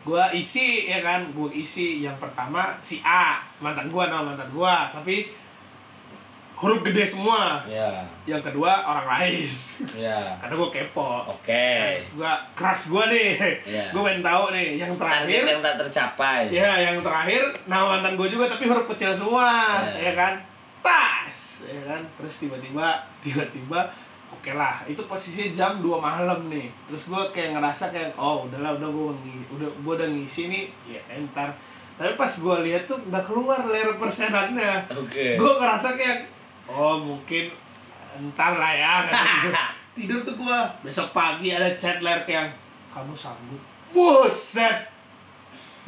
S2: gua isi ya kan gua isi yang pertama si A mantan gua nama mantan gua tapi huruf gede semua
S6: Iya.
S2: yang kedua orang lain
S6: Iya.
S2: karena gua kepo
S6: Oke.
S2: Terus gua keras gua nih
S6: Iya.
S2: gua pengen tahu nih yang
S6: Target
S2: terakhir
S6: yang tak tercapai.
S2: ya yang terakhir nama mantan gua juga tapi huruf kecil semua ya
S6: Iya.
S2: kan tas ya kan terus tiba-tiba tiba-tiba oke lah itu posisinya jam 2 malam nih terus gua kayak ngerasa kayak oh udahlah udah gua ngi udah gua udah ngisi nih ya entar tapi pas gua lihat tuh nggak keluar layar persenannya
S6: Oke.
S2: gue ngerasa kayak oh mungkin entar lah ya kata gua. tidur tuh gue besok pagi ada chat ler yang kamu sanggup buset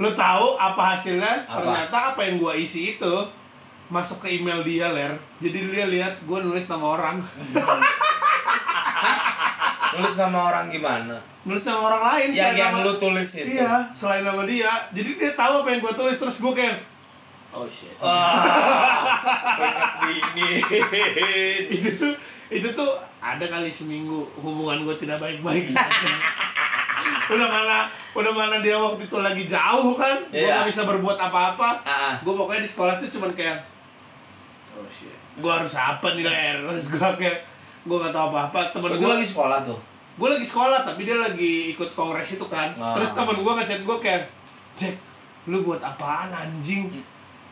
S2: lu tahu apa hasilnya
S6: Apa?
S2: ternyata apa yang gue isi itu masuk ke email dia ler jadi dia lihat gue nulis nama orang
S6: Nulis sama orang gimana?
S2: nulis nama orang lain
S6: Yang
S2: selain
S6: yang
S2: nama-
S6: lu tulis itu.
S2: iya selain nama dia jadi dia tahu apa yang gue tulis terus gue kayak oh shit
S6: Dingin.
S2: itu tuh itu tuh ada kali seminggu hubungan gue tidak baik-baik udah mana udah mana dia waktu itu lagi jauh kan gue
S6: Iya.
S2: gak bisa berbuat apa-apa
S6: Ah.
S2: gue pokoknya di sekolah tuh cuman kayak oh shit gue harus apa nih ler terus gue kayak gue gak tau apa-apa temen
S6: Lu
S2: gue
S6: Oh, lagi sekolah tuh.
S2: gue lagi sekolah tapi dia lagi ikut kongres itu kan
S6: Ah.
S2: terus temen gue ngechat gue kayak Jack lu buat apaan anjing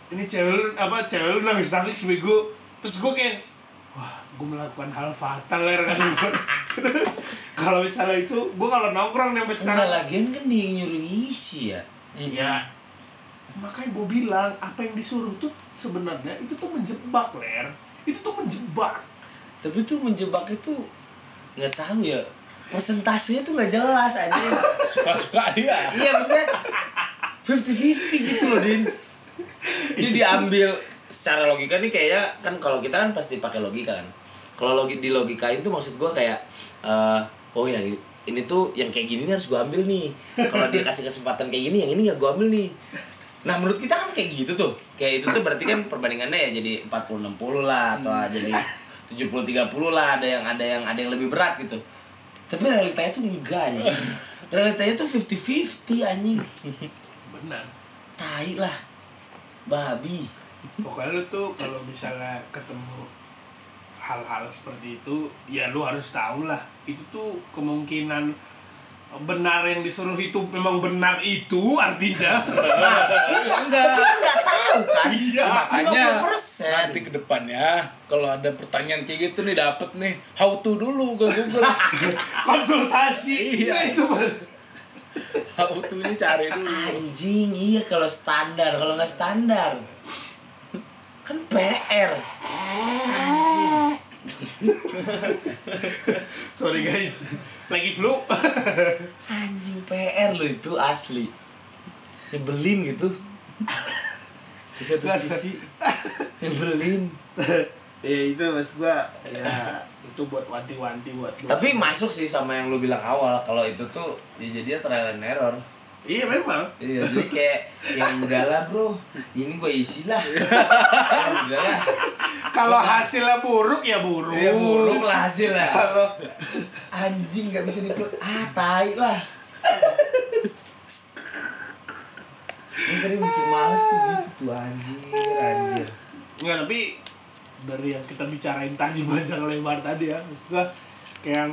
S6: Hmm.
S2: ini cewek lu apa cewek lu nangis nangis bego terus gue kayak wah gue melakukan hal fatal ya kan gue terus kalau misalnya itu gue kalau nongkrong nih sampai sekarang
S6: Enggak lagian kan dia yang nyuruh ngisi ya.
S2: ya makanya gue bilang apa yang disuruh tuh sebenarnya itu tuh menjebak ler itu tuh menjebak
S6: Tapi tuh menjebak itu nggak tahu ya. Persentasenya tuh nggak jelas aja.
S3: Suka-suka dia.
S6: iya maksudnya 50-50 gitu loh Din. Jadi diambil secara logika nih kayaknya kan kalau kita kan pasti pakai logika kan. Kalau logi di logikain tuh maksud gua kayak eh, oh ya ini tuh yang kayak gini nih harus gua ambil nih. Kalau dia kasih kesempatan kayak gini yang ini nggak gua ambil nih. Nah menurut kita kan kayak gitu tuh Kayak itu tuh berarti kan perbandingannya ya jadi 40-60 lah Atau jadi 70-30 lah Ada yang ada yang ada yang lebih berat gitu Tapi realitanya tuh enggak anjing Realitanya tuh 50-50 anjing
S2: benar
S6: Tai lah Babi
S2: pokoknya lu tuh kalau misalnya ketemu hal-hal seperti itu ya lu harus tahu lah itu tuh kemungkinan benar yang disuruh itu memang benar itu artinya
S6: Enggak Enggak tahu kan
S2: iya
S3: Hanya
S6: 50%.
S3: nanti ke depannya kalau ada pertanyaan kayak gitu nih dapet nih how to dulu ke Google.
S2: konsultasi
S3: Iya.
S2: Nah, itu bener.
S3: how to ini cari dulu.
S6: Anjing iya kalau standar Kalau nggak standar Kan PR
S2: sorry guys lagi flu
S6: Anjing PR lo itu asli Nyebelin gitu Di satu sisi Nyebelin
S2: ya itu mas gua ya itu buat wanti-wanti buat buat-
S6: Tapi masuk sih sama yang lu bilang awal Kalau itu tuh ya jadinya trial and error
S2: iya memang
S6: Iya, jadi kayak yang udahlah bro, ini gue isi lah. Ya udahlah,
S2: kalau hasilnya buruk ya buruk
S6: ya buruk lah hasil lah. Kalau anjing nggak bisa dikeluk, ah tai lah. Ini tadi bikin males tuh gitu tuh anjir, anjir.
S2: Nggak, tapi dari yang kita bicarain tadi panjang lebar tadi ya maksud gua kayak yang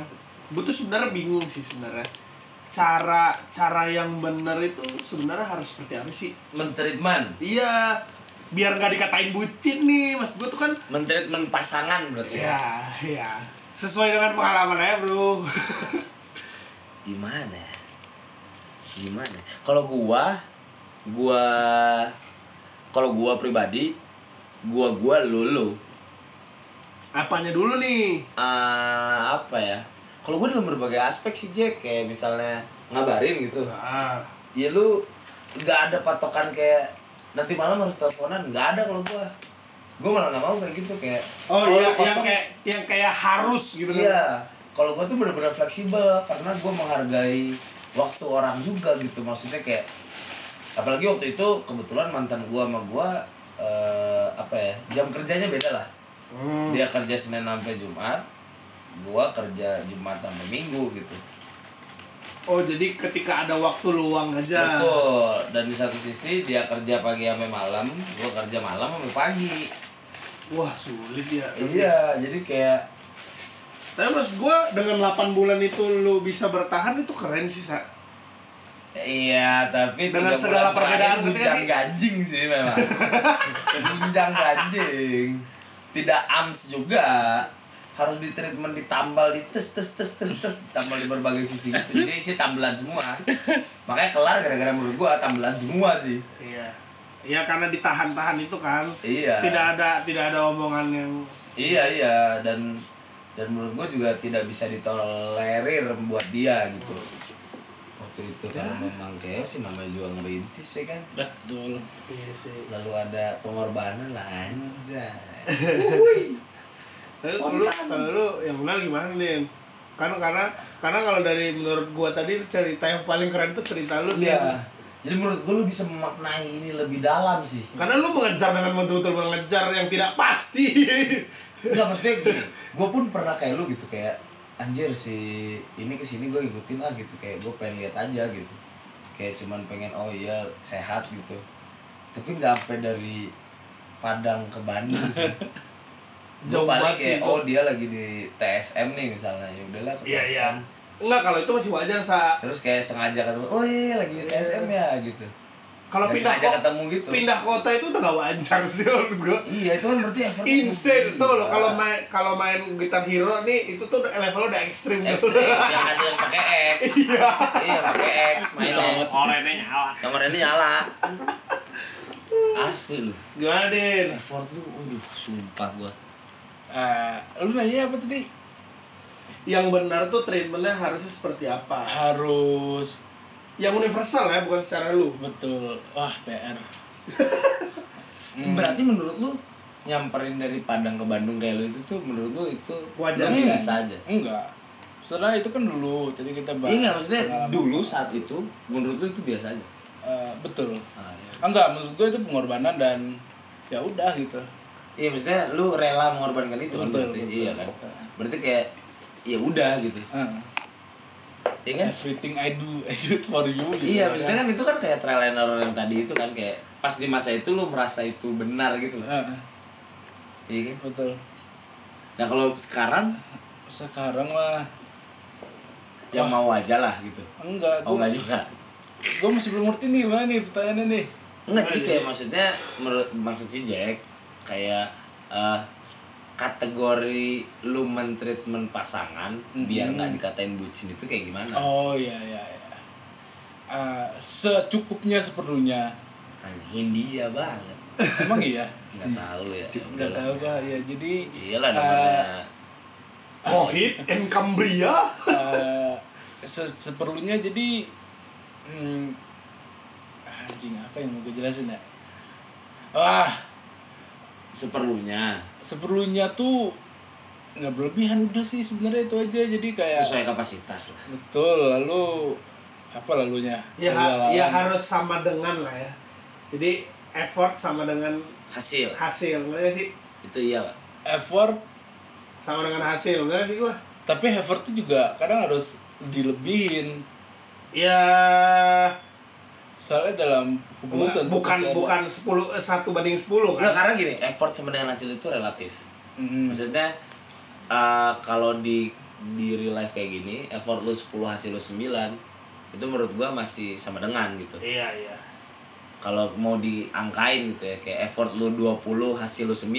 S2: gua tuh sebenarnya bingung sih sebenarnya cara cara yang bener itu sebenarnya harus seperti apa sih
S6: Mentreatment,
S2: iya biar nggak dikatain bucin nih mas gua tuh kan
S6: mentreatment pasangan berarti. ya.
S2: ya ya sesuai dengan pengalaman ya bro
S6: gimana ya? gimana kalau gua gua kalau gua pribadi gua gua lu lu
S2: apanya dulu nih
S6: Ah, apa ya kalau gua dalam berbagai aspek sih Jack kayak misalnya ngabarin gitu
S2: ah
S6: ya lu nggak ada patokan kayak nanti malam harus teleponan nggak ada kalau gua gua malah nggak mau kayak gitu kayak
S2: oh
S6: kalau
S2: iya yang
S6: kosong-
S2: kayak yang kayak harus gitu kan
S6: Iya, kalau gue tuh bener-bener fleksibel karena gue menghargai waktu orang juga gitu maksudnya kayak apalagi waktu itu kebetulan mantan gue sama gue eh, apa ya jam kerjanya beda lah
S2: Hmm.
S6: dia kerja senin sampai jumat gue kerja jumat sampai minggu gitu
S2: oh jadi ketika ada waktu luang aja
S6: betul dan di satu sisi dia kerja pagi sampai malam gue kerja malam sampai pagi
S2: Iya. wah sulit ya
S6: iya jadi kayak
S2: Tapi mas gue dengan 8 bulan itu lu bisa bertahan itu keren sih sa.
S6: Iya, tapi
S2: Dengan
S6: tiga
S2: segala
S6: bulan
S2: perbedaan,
S6: terakhir
S2: ngerti gak
S6: gunjang
S2: sih?
S6: ganjing sih memang. gunjang ganjing. Tidak ams juga. Harus di treatment ditambal di tes tes tes tes tes ditambal di berbagai sisi gitu. Jadi isi tambelan semua. Makanya kelar gara-gara menurut gua tambelan semua sih.
S2: Iya. Iya karena ditahan-tahan itu kan.
S6: Iya.
S2: Tidak ada tidak ada omongan yang
S6: Iya iya dan dan menurut gua juga tidak bisa ditolerir buat dia gitu. Waktu itu karena memang kayak sih namanya juga ngerintis ya kan.
S3: Betul.
S2: Iya sih.
S6: selalu ada pengorbanan lah anjay
S2: Tapi kalau "Eh, lu, kalau lu yang benar gimana nih? Karena karena karena kalau dari menurut gua tadi cerita yang paling keren itu cerita lu Din.
S6: iya jadi menurut gue lu bisa memaknai ini lebih dalam sih
S2: Karena lu mengejar dengan betul-betul mengejar yang tidak pasti.
S6: Enggak maksudnya gini gue pun pernah kayak lu gitu kayak anjir si ini kesini gue ngikutin ah gitu kayak gue pengen lihat aja gitu kayak cuman pengen oh iya sehat gitu tapi nggak sampai dari Padang ke Bandung sih Gua
S2: Jauh
S6: paling
S2: banget sih
S6: kayak
S2: gua.
S6: oh dia lagi di TSM nih misalnya ya udahlah ke
S2: Iya
S6: TSM.
S2: iya. Enggak kalau itu masih wajar sa.
S6: terus kayak sengaja ketemu oh iya iya, lagi di TSM ya gitu
S2: Iya. kalau
S6: Nggak
S2: pindah
S6: sengaja
S2: ko-
S6: ketemu gitu.
S2: pindah kota itu udah gak wajar sih menurut gue
S6: Iya, itu kan berarti Iya. effort.
S2: insane tuh lo kalau main kalau main gitar hero nih itu tuh level udah ekstrim gitu
S6: Ekstrim, yang ada yang pakai X.
S2: iya
S6: Iya, pakai X mainnya.
S2: korennya nyala
S6: Nomor ini nyala. Asli lu.
S2: gimana din
S6: Effort lu, waduh, sumpah gua.
S3: Eh, lu nanya apa tadi?
S2: yang benar tuh treatmentnya harusnya seperti apa
S3: Harus
S2: yang universal ya bukan secara lu
S3: betul. Wah, PR. Hmm.
S6: Berarti menurut lu nyamperin dari Padang ke Bandung kayak lu itu tuh menurut lu itu
S2: Wajar.
S6: lu biasa aja.
S3: Enggak. Setelah itu kan dulu tadi kita bahas.
S6: Iya nggak maksudnya
S3: pengalaman.
S6: dulu saat itu menurut lu itu biasa aja.
S3: Eh, betul.
S6: Ah, iya.
S3: Ah, Enggak, menurut gue itu pengorbanan dan ya udah gitu.
S6: Iya maksudnya lu rela mengorbankan itu kan
S3: Betul,
S6: berarti.
S3: betul.
S6: Iya kan. Berarti kayak ya udah gitu.
S3: Ah, ya.
S6: Iya kan?
S3: everything I do, I do it for you. Gitu,
S6: Iya, maksudnya kan itu kan kayak trial and error yang tadi itu kan kayak pas di masa itu lu merasa itu benar gitu loh.
S3: Ah,
S6: Iya kan?
S3: betul.
S6: Nah, kalau sekarang
S3: Sekarang mah
S6: yang mau aja lah gitu.
S3: enggak.
S6: Oh,
S3: Gue
S6: enggak juga.
S3: gue masih belum ngerti nih mana nih pertanyaannya nih.
S6: Enggak jadi kayak maksudnya menurut maksud si Jack kayak eh, kategori lu mentreatment pasangan biar nggak dikatain bucin itu kayak gimana?
S3: Oh iya iya. iya. Ah, secukupnya seperlunya.
S6: Anjing Nah, dia banget.
S3: Emang iya.
S6: Enggak tahu ya.
S3: Enggak tahu gua ya. Jadi
S6: Iyalah
S3: eh,
S6: namanya.
S2: Kohit and Cambria
S3: eh, se- seperlunya jadi hmm, anjing apa yang mau gue jelasin ya? Wah,
S6: seperlunya
S3: seperlunya tuh nggak berlebihan udah sih sebenarnya itu aja jadi kayak
S6: sesuai kapasitas lah.
S3: betul lalu apa lalunya
S2: ya
S3: Lalu
S2: ya
S3: lalang.
S2: harus sama dengan lah ya jadi effort sama dengan
S6: Hasil.
S2: hasil nggak sih
S6: Itu iya, Pak.
S3: effort
S2: sama dengan hasil nggak sih gua
S3: tapi effort tuh juga kadang harus dilebihin
S2: ya
S3: soalnya dalam hubungan
S2: nggak-
S3: tentu
S2: bukan
S3: pasti ada.
S2: bukan sepuluh eh, satu banding sepuluh kan
S6: Enggak karena gini, effort sama dengan hasil itu relatif.
S3: Mm-mm.
S6: Maksudnya eh, kalau di di real life kayak gini, effort lu 10 hasil lu 9 itu menurut gua masih sama dengan gitu.
S2: iya iya
S6: Kalau mau diangkain gitu ya, kayak effort lu 20 hasil lu 9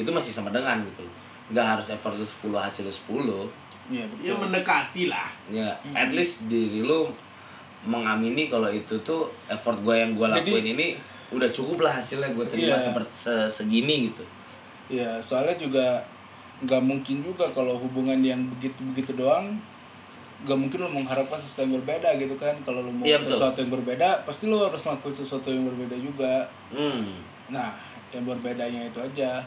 S6: itu masih sama dengan gitu. Enggak harus effort lu 10 hasil lu 10.
S3: Iya,
S2: ya
S3: betul.
S2: mendekati lah
S6: Ya,
S3: Mm-hmm.
S6: at least diri lu mengamini kalau itu tuh effort gua yang gua
S3: Jadi-
S6: lakuin ini udah cukup lah hasilnya gua terima
S3: Iya.
S6: seperti se- segini gitu.
S3: Iya, soalnya juga nggak mungkin juga kalau hubungan yang begitu-begitu doang nggak mungkin lo mengharapkan sesuatu yang berbeda gitu kan kalau lo mau
S6: Iya, betul.
S3: sesuatu yang berbeda pasti lo harus ngelakuin sesuatu yang berbeda juga
S6: Hmm.
S3: nah yang berbedanya itu aja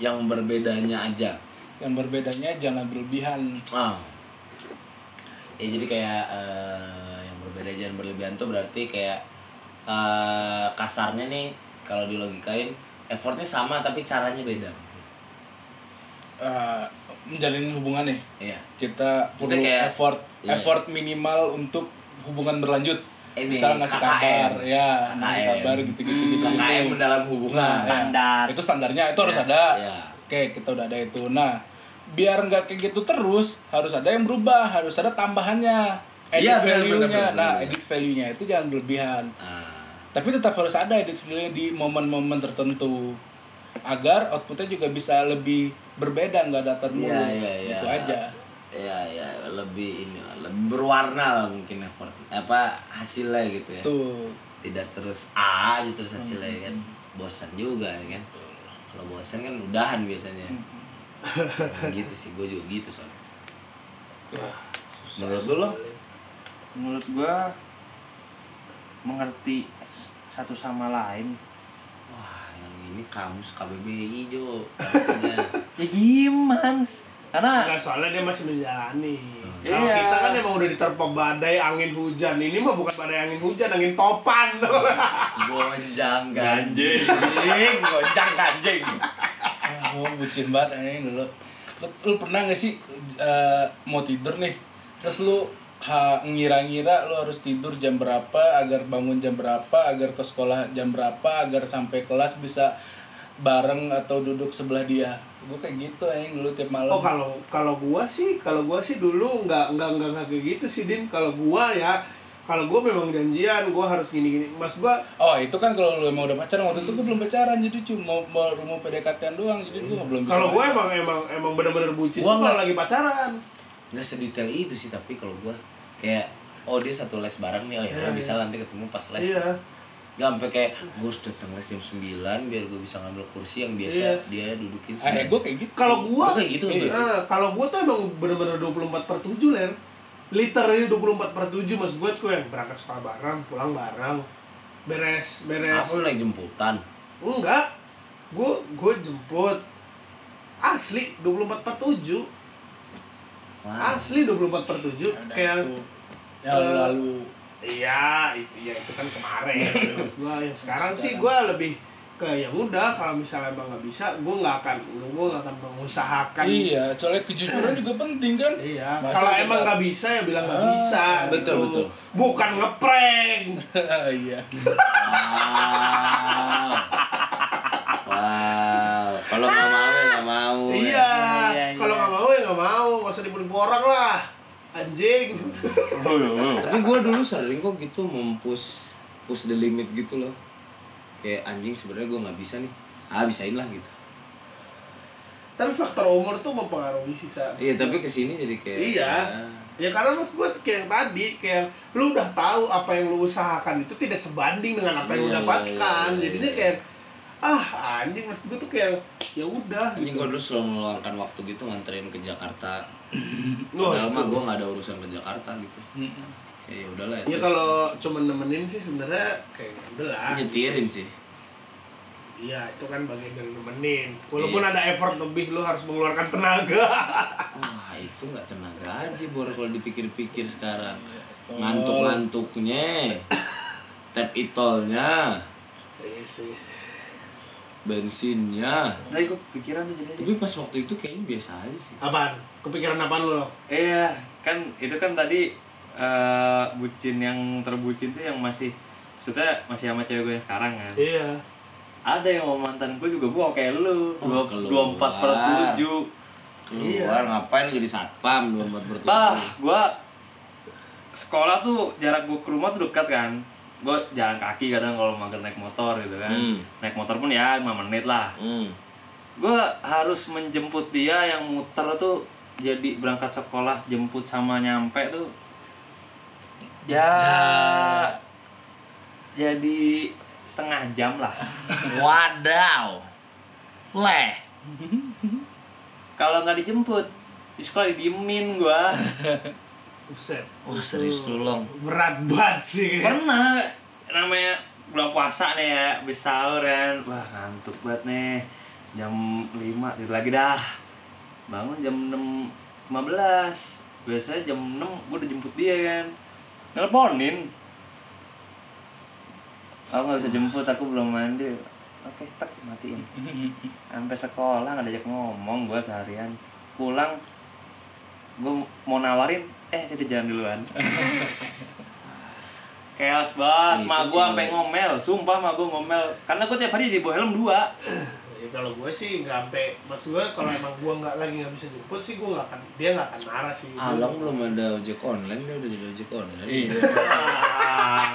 S6: yang berbedanya aja.
S3: yang berbedanya jangan berlebihan
S6: Ah. Ya jadi kayak eh, yang berbeda jangan berlebihan tuh berarti kayak eh, kasarnya nih kalau dilogikain effortnya sama tapi caranya beda.
S3: Eh, menjalin hubungan nih
S6: Iya.
S3: kita perlu
S6: kayak-
S3: effort
S6: iya.
S3: effort minimal untuk hubungan berlanjut
S6: Ini,
S3: misal ngasih
S6: KKM.
S3: kabar ya ngasih
S6: KKM.
S3: kabar gitu gitu gitu
S6: KKM dalam hubungan standar.
S3: Nah, ya. itu standarnya itu harus ada
S6: iya.
S3: oke kita udah ada itu nah biar nggak kayak gitu terus harus ada yang berubah harus ada tambahannya edit
S6: Iya, benar,
S3: value nya
S6: benar, benar,
S3: nah
S6: benar.
S3: edit value nya itu jangan berlebihan
S6: Ah,
S3: tapi tetap harus ada edit value nya di momen-momen tertentu agar outputnya juga bisa lebih berbeda nggak datar mulu
S6: Iya, iya, iya.
S3: Oh, itu aja
S6: ya ya lebih ini lah, lebih berwarna lah mungkin effort apa hasilnya gitu ya.
S3: tuh
S6: Tidak terus A aja
S2: Hmm.
S6: terus hasilnya ya kan. Bosan juga ya kan. Kalau bosan kan udahan biasanya.
S2: Hmm.
S6: Nah, gitu sih, gue juga gitu soalnya. Menurut lu lo?
S5: menurut gua mengerti satu sama lain
S6: Wah, yang ini kamus KBBI Jo. Artinya,
S5: ya gimana karena
S2: Enggak, Kan soalnya dia masih menjalani.
S5: Iya.
S2: Kalau kita kan emang udah diterpa badai angin hujan. Ini mah bukan badai angin hujan, angin topan.
S6: Gonjang kan? ganjing, gonjang ganjing.
S3: Ah, gua bucin banget anjing dulu. Lu, lu pernah gak sih eh, mau tidur nih? Terus lu ha, ngira-ngira lu harus tidur jam berapa, agar bangun jam berapa, agar ke sekolah jam berapa, agar sampai kelas bisa bareng atau duduk sebelah dia. Gue kayak gitu anjing dulu tiap malam.
S2: Oh kalau kalau gua sih, kalau gua sih dulu nggak nggak nggak nggak kayak gitu sih Din. Kalau gua ya kalau gue memang janjian gue harus gini gini mas gue
S3: Oh itu kan kalau lu emang udah pacaran waktu itu gue belum pacaran jadi cuma mau mau PDKT-an doang jadi gue belum bisa.
S2: kalau gue emang emang emang bener-bener bucin
S6: Gua
S2: gue
S6: nggak-
S2: lagi pacaran
S6: nggak sedetail itu sih tapi kalau gua kayak oh dia satu les bareng nih oh ya udah bisa lah, nanti ketemu pas les
S2: iya
S6: nggak sampai kayak gue harus datang les jam 9 biar gue bisa ngambil kursi yang biasa
S2: Iya.
S6: dia dudukin
S3: Ah, ya,
S6: sebenarnya.
S3: gue kayak gitu.
S2: kalau gue
S6: Lu kayak gitu kan, Bro?
S2: Eh, kalau gue tuh emang bener-bener 24 per 7 ler literally 24 per 7 maksud gue tuh yang berangkat sekolah bareng pulang bareng beres beres
S6: apa lu naik jemputan
S2: enggak gue gue jemput asli 24 per 7
S6: Wah. Ya
S2: asli 24 per 7
S3: Nah,
S2: kayak
S3: itu. Ya yang
S2: eh,
S3: lalu
S2: Iya, itu ya itu kan kemarin. Terus gua yang sekarang sih gua lebih ke ya udah kalau misalnya emang nggak bisa, gua nggak akan gua nggak akan mengusahakan.
S3: iya soalnya kejujuran juga penting kan.
S2: Iya.
S3: Masa
S2: Kalau
S3: kita-
S2: emang nggak bisa ya bilang nggak
S3: Ah,
S2: bisa.
S6: betul,
S2: gitu.
S6: betul.
S2: Bukan ngeprank.
S3: iya.
S6: wow wow kalau nggak mau ya nggak mau
S2: iya.
S5: iya, iya.
S2: Kalau nggak mau ya nggak mau, nggak usah dibully orang lah. Anjing.
S5: Hmm.
S6: tapi gue dulu sering kok gitu mempus push the limit gitu loh kayak anjing sebenarnya gue nggak bisa nih ah bisain lah gitu
S2: Tapi faktor umur tuh mempengaruhi sih Sa.
S6: iya Ah. tapi kesini jadi kayak
S2: Iya. Ya karena mas buat kayak yang tadi, kayak lu udah tahu apa yang lu usahakan itu tidak sebanding dengan apa yang lu
S6: Iya,
S2: dapatkan.
S6: iya, iya,
S2: Jadinya
S6: iya.
S2: kayak ah anjing mas gue tuh kayak ya udah
S6: Anjing
S2: gitu.
S6: gue dulu selalu meluangkan waktu gitu nganterin ke Jakarta.
S2: Oh,
S6: Padahal mah
S2: itu.
S6: gue gak ada urusan ke Jakarta gitu. Kayak ya udahlah ya.
S2: Ya kalau cuman nemenin sih sebenarnya kayak udah lah.
S6: nyetirin sih.
S2: Iya itu kan bagian dari nemenin. Walaupun
S6: Iya.
S2: ada effort lebih lu harus mengeluarkan tenaga.
S6: Wah Ah, itu nggak tenaga aja bor kalau dipikir-pikir sekarang. Ngantuk-ngantuknya. Tap itolnya,
S2: Iya sih.
S6: bensinnya.
S5: Tapi gue pikiran tuh jadi aja.
S6: Tapi pas waktu itu kayaknya biasa aja sih.
S2: Apaan? Kepikiran apaan lu? Lo?
S5: Iya, kan itu kan tadi eh, bucin yang terbucin tuh yang masih maksudnya masih sama cewek gue yang sekarang kan.
S2: Iya.
S5: Ada yang mau mantan gue juga gue mau kayak lu.
S6: Oh,
S5: Dua empat per
S6: keluar.
S5: tujuh.
S6: Keluar ngapain lu jadi satpam dua buat
S5: Bah,
S6: bertuah.
S5: gue sekolah tuh jarak gue ke rumah tuh dekat kan. Gue jalan kaki kadang kalau mager naik motor gitu kan.
S6: Hmm.
S5: Naik motor pun ya 5 menit lah.
S6: Hmm.
S5: gue harus menjemput dia yang muter tuh jadi berangkat sekolah jemput sama nyampe tuh ya jadi setengah jam lah
S6: Wadaw. Leh.
S5: kalau nggak dijemput di sekolah didiemin gue
S2: Buset.
S6: Wah serius lu long.
S2: Berat banget sih.
S5: pernah namanya bulan puasa nih ya habis sahur kan wah ngantuk banget nih jam 5 tidur lagi dah bangun jam 6 15 biasanya jam 6 gue udah jemput dia kan nelponin aku nggak bisa jemput aku belum mandi oke tek matiin sampai sekolah nggak diajak ngomong gue seharian pulang gue mau nawarin eh dia udah jalan duluan Chaos bas,
S6: Itu
S5: ma
S6: sih
S5: gua sampai
S6: kalau-
S5: ngomel, sumpah ma gua ngomel. Karena gua tiap hari di bawah helm dua.
S2: Ya, kalau gue sih nggak sampai maksud gue kalau emang gue nggak lagi nggak bisa jemput sih gue nggak akan dia nggak akan marah sih
S6: Along belum ada ojek online, dia udah jadi ojek online.
S3: Iya.
S5: Ah,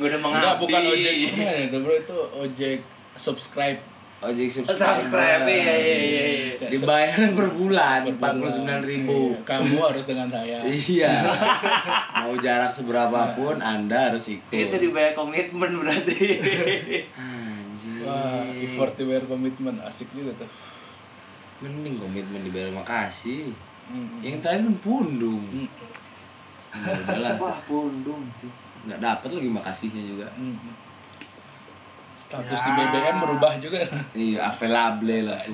S5: gua udah mengabdi.
S3: Enggak bukan ojek online itu bro itu ojek subscribe.
S6: Ojek
S5: Subscribe ya ya ya.
S3: Kayak
S6: Dibayaran per bulan,
S3: sub-
S6: empat puluh sembilan ribu.
S3: Iya, Kamu harus dengan saya.
S6: Iya. Mau jarak seberapa pun, anda harus ikut.
S5: Itu dibayar komitmen berarti.
S6: Anjir.
S3: Wah, effort to wear commitment asik juga tuh.
S6: Mending komitmen dibayar makasih.
S3: Mm-mm.
S6: Yang terakhir kan pundung.
S2: Mm.
S6: Nah, udahlah,
S5: Wah, pundung. cuy.
S6: nggak dapat lagi makasihnya juga.
S3: Mm-mm. Status
S6: Ya.
S3: di BBM berubah juga.
S6: Iya, available langsung.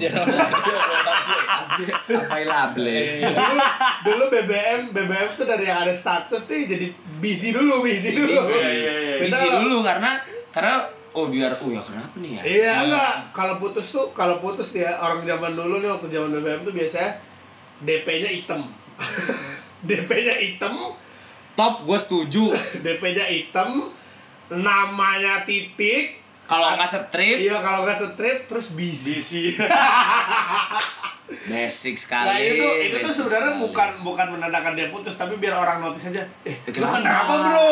S6: available.
S2: dulu, dulu BBM BBM tuh dari yang ada status nih jadi busy dulu busy dulu
S5: Iya, iya, iya.
S2: Bisa
S6: Isi
S2: kalau-
S6: dulu karena karena oh biar oh ya kenapa nih ya?
S2: iya enggak kalau putus tuh kalau putus ya orang zaman dulu nih waktu zaman BBM tuh biasanya DP-nya hitam DP-nya hitam
S6: Top gue setuju.
S2: DP-nya hitam namanya titik
S6: Kalau nggak strip,
S2: iya kalau nggak straight terus busy
S6: basic sekali.
S2: Nah itu itu tuh sebenarnya
S6: basic Iya, sekali.
S2: bukan bukan menandakan dia putus tapi biar orang notice aja. Eh
S6: Ya, kenapa?
S2: kenapa, kenapa bro?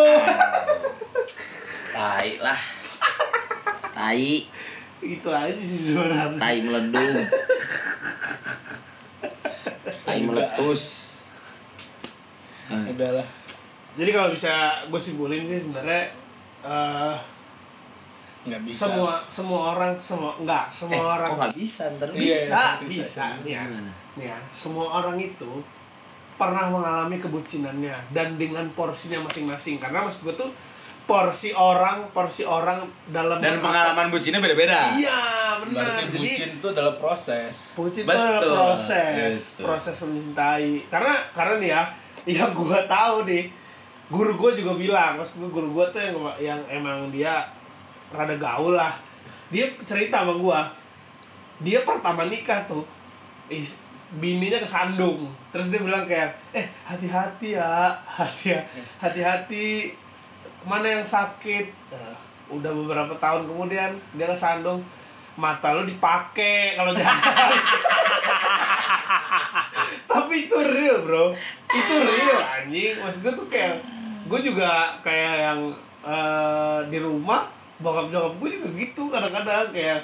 S6: tai
S2: Itu Gitu aja sih sebenarnya.
S6: tai meledung tai meletus
S3: udahlah
S2: Jadi kalau bisa gue simpulin sih sebenarnya eh,
S3: nggak bisa
S2: semua semua orang semua enggak semua orang
S6: Eh, kok nggak bisa ntar
S3: Iya,
S2: bisa
S3: iya,
S2: bisa nih ya nih ya semua orang itu pernah mengalami kebucinannya dan dengan porsinya masing-masing karena maksud gue tuh porsi orang porsi orang dalam
S5: Dan pengalaman bucinnya beda-beda.
S2: iya
S3: berarti
S2: benar jadi
S3: bucin itu adalah proses
S2: Bucin itu adalah
S5: Betul,
S2: proses,
S5: betul.
S2: proses mencintai. Karena karena nih ya, yang gua tahu nih, guru gua juga bilang, maksud gua guru gua tuh yang, yang emang dia rada gaul lah. Dia cerita sama gua, dia pertama nikah tuh, is, bininya kesandung. Terus dia bilang kayak, eh hati-hati ya, hati ya, hati-hati mana yang sakit. Nah, udah beberapa tahun kemudian dia kesandung, mata lu dipake kalau jalan. tapi itu real bro itu real anjing maksud gue tuh kayak gue juga kayak yang eh, di rumah bokap nyokap gue juga gitu kadang-kadang kayak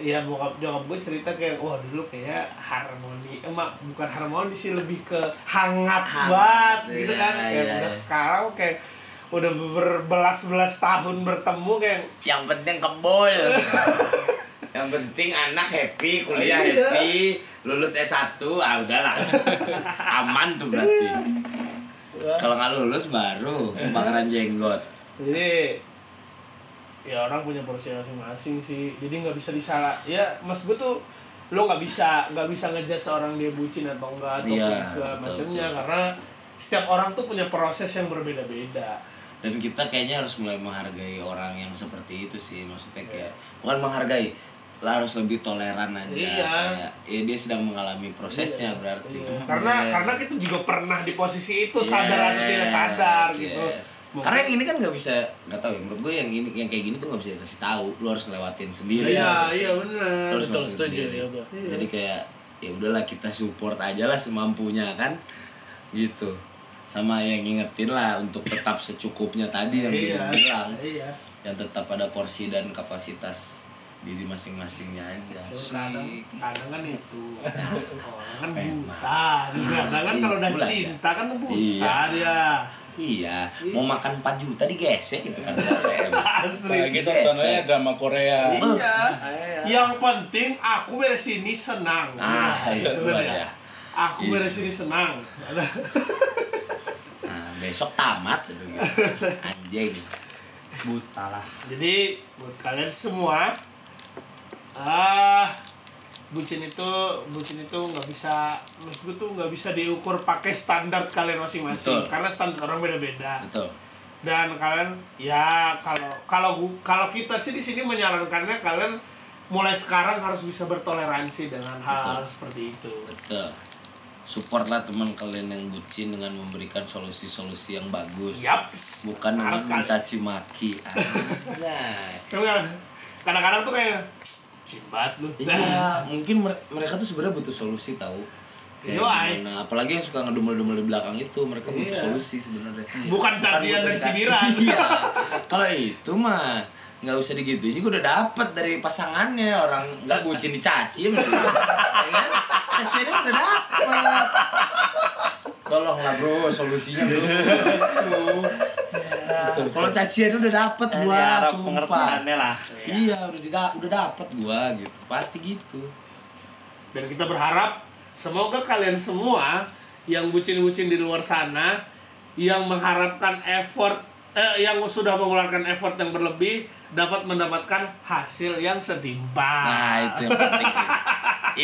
S2: ya bokap nyokap gue cerita kayak wah dulu kayak harmoni emak bukan harmoni sih lebih ke hangat, banget gitu kan
S6: iya,
S2: kayak
S6: iya,
S2: udah
S6: iya.
S2: sekarang kayak udah berbelas-belas tahun bertemu kayak
S6: yang penting kebol yang penting anak happy kuliah
S2: Iya.
S6: happy lulus S1 ah udahlah aman tuh berarti
S5: Iya.
S6: kalau nggak lulus baru kebakaran jenggot
S2: jadi ya orang punya porsi masing-masing sih jadi nggak bisa disalah ya mas gue tuh lo nggak bisa nggak bisa ngejar seorang dia bucin atau enggak atau
S6: Iya,
S2: segala
S6: betul,
S2: macamnya karena setiap orang tuh punya proses yang berbeda-beda
S6: dan kita kayaknya harus mulai menghargai orang yang seperti itu sih
S2: Iya.
S6: maksudnya kayak bukan menghargai lah harus lebih toleran aja
S2: Iya.
S6: kayak ya dia sedang mengalami prosesnya berarti
S2: Iya. karena karena kita juga pernah di posisi itu
S6: Hmm, Yes,
S2: sadar atau tidak sadar gitu
S6: yes.
S2: Mungkin-
S6: karena yang ini kan nggak bisa nggak tahu ya menurut gue yang ini yang kayak gini tuh nggak bisa dikasih tahu lu harus ngelewatin sendiri
S2: iya iya benar
S6: harus
S3: betul
S6: ngelakuin
S3: setuju
S6: sendiri.
S3: ya gua
S6: jadi
S2: Iya.
S6: kayak ya udahlah kita support aja lah semampunya kan gitu sama yang ngingetin lah untuk tetap secukupnya tadi yang
S2: iya
S6: dia bilang
S2: iya
S6: yang tetap pada porsi dan kapasitas diri masing-masingnya aja
S2: kadang kadang kan itu orang kan buta kadang kan kalau udah
S6: Itulah ya.
S2: cinta kan buta
S6: Iya.
S2: dia
S6: iya mau makan 4 juta digesek gitu kan
S2: asli
S3: Apalagi
S6: Yes,
S3: tontonannya Nah,
S6: ya.
S3: gitu drama Korea
S2: iya yang penting aku beres ini senang
S6: Ah,
S2: itu
S6: itu
S2: kan
S6: lah
S2: ya
S6: ya.
S2: aku
S6: Iya.
S2: beres ini senang
S6: nah, besok tamat gitu, gitu. anjing
S5: Buta lah.
S2: jadi buat kalian semua ah bucin itu bucin itu nggak bisa maksud gue tuh nggak bisa diukur pakai standar kalian masing-masing
S6: Betul.
S2: karena standar orang beda-beda
S6: betul
S2: dan kalian ya kalau kalau gu- kalau kita sih di sini menyarankannya kalian mulai sekarang harus bisa bertoleransi dengan hal-hal seperti itu
S6: betul supportlah teman kalian yang bucin dengan memberikan solusi-solusi yang bagus
S2: Yaps.
S6: bukan dengan
S2: Harus sekali.
S6: mencaci maki Anjay.
S2: Tapi kadang- kadang-kadang tuh kayak cimbat lu
S6: Iya, mungkin mer- mereka tuh sebenarnya butuh solusi tahu. Kayak
S2: Yoi.
S6: gimana, apalagi yang suka ngedumel-dumel di belakang itu, mereka butuh solusi sebenarnya.
S2: Bukan cacian dan
S6: butuh dicaci.
S2: cibiran.
S6: Iya. Kalau itu mah nggak usah digitu. Ini gue udah dapet dari pasangannya orang nggak bucin dicaci, menurut gue. Ya kan? Caciannya udah dapet. Tolonglah bro, solusinya bro. Gitu. Kalau cacian udah dapet gua,
S5: Harap
S6: sumpah.
S5: pengertiannya lah.
S6: Iya, udah dida- udah dapet gua gitu. Pasti gitu.
S2: dan kita berharap semoga kalian semua yang bucin-bucin di luar sana yang mengharapkan effort eh, yang sudah mengeluarkan effort yang berlebih dapat mendapatkan hasil yang
S5: Ah.
S2: setimpal.
S6: Nah, itu yang penting sih.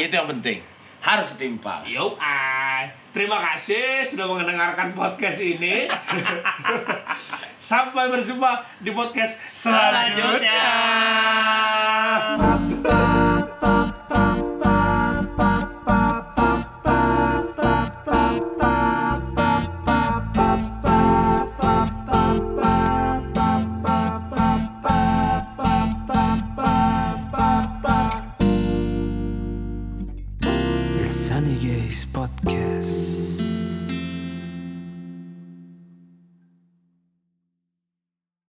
S6: itu yang penting. Harus setimpal.
S2: Yo, ah. terima kasih sudah mendengarkan podcast ini. Sampai berjumpa di podcast selanjutnya.
S7: It's Sunny Gaze Podcast.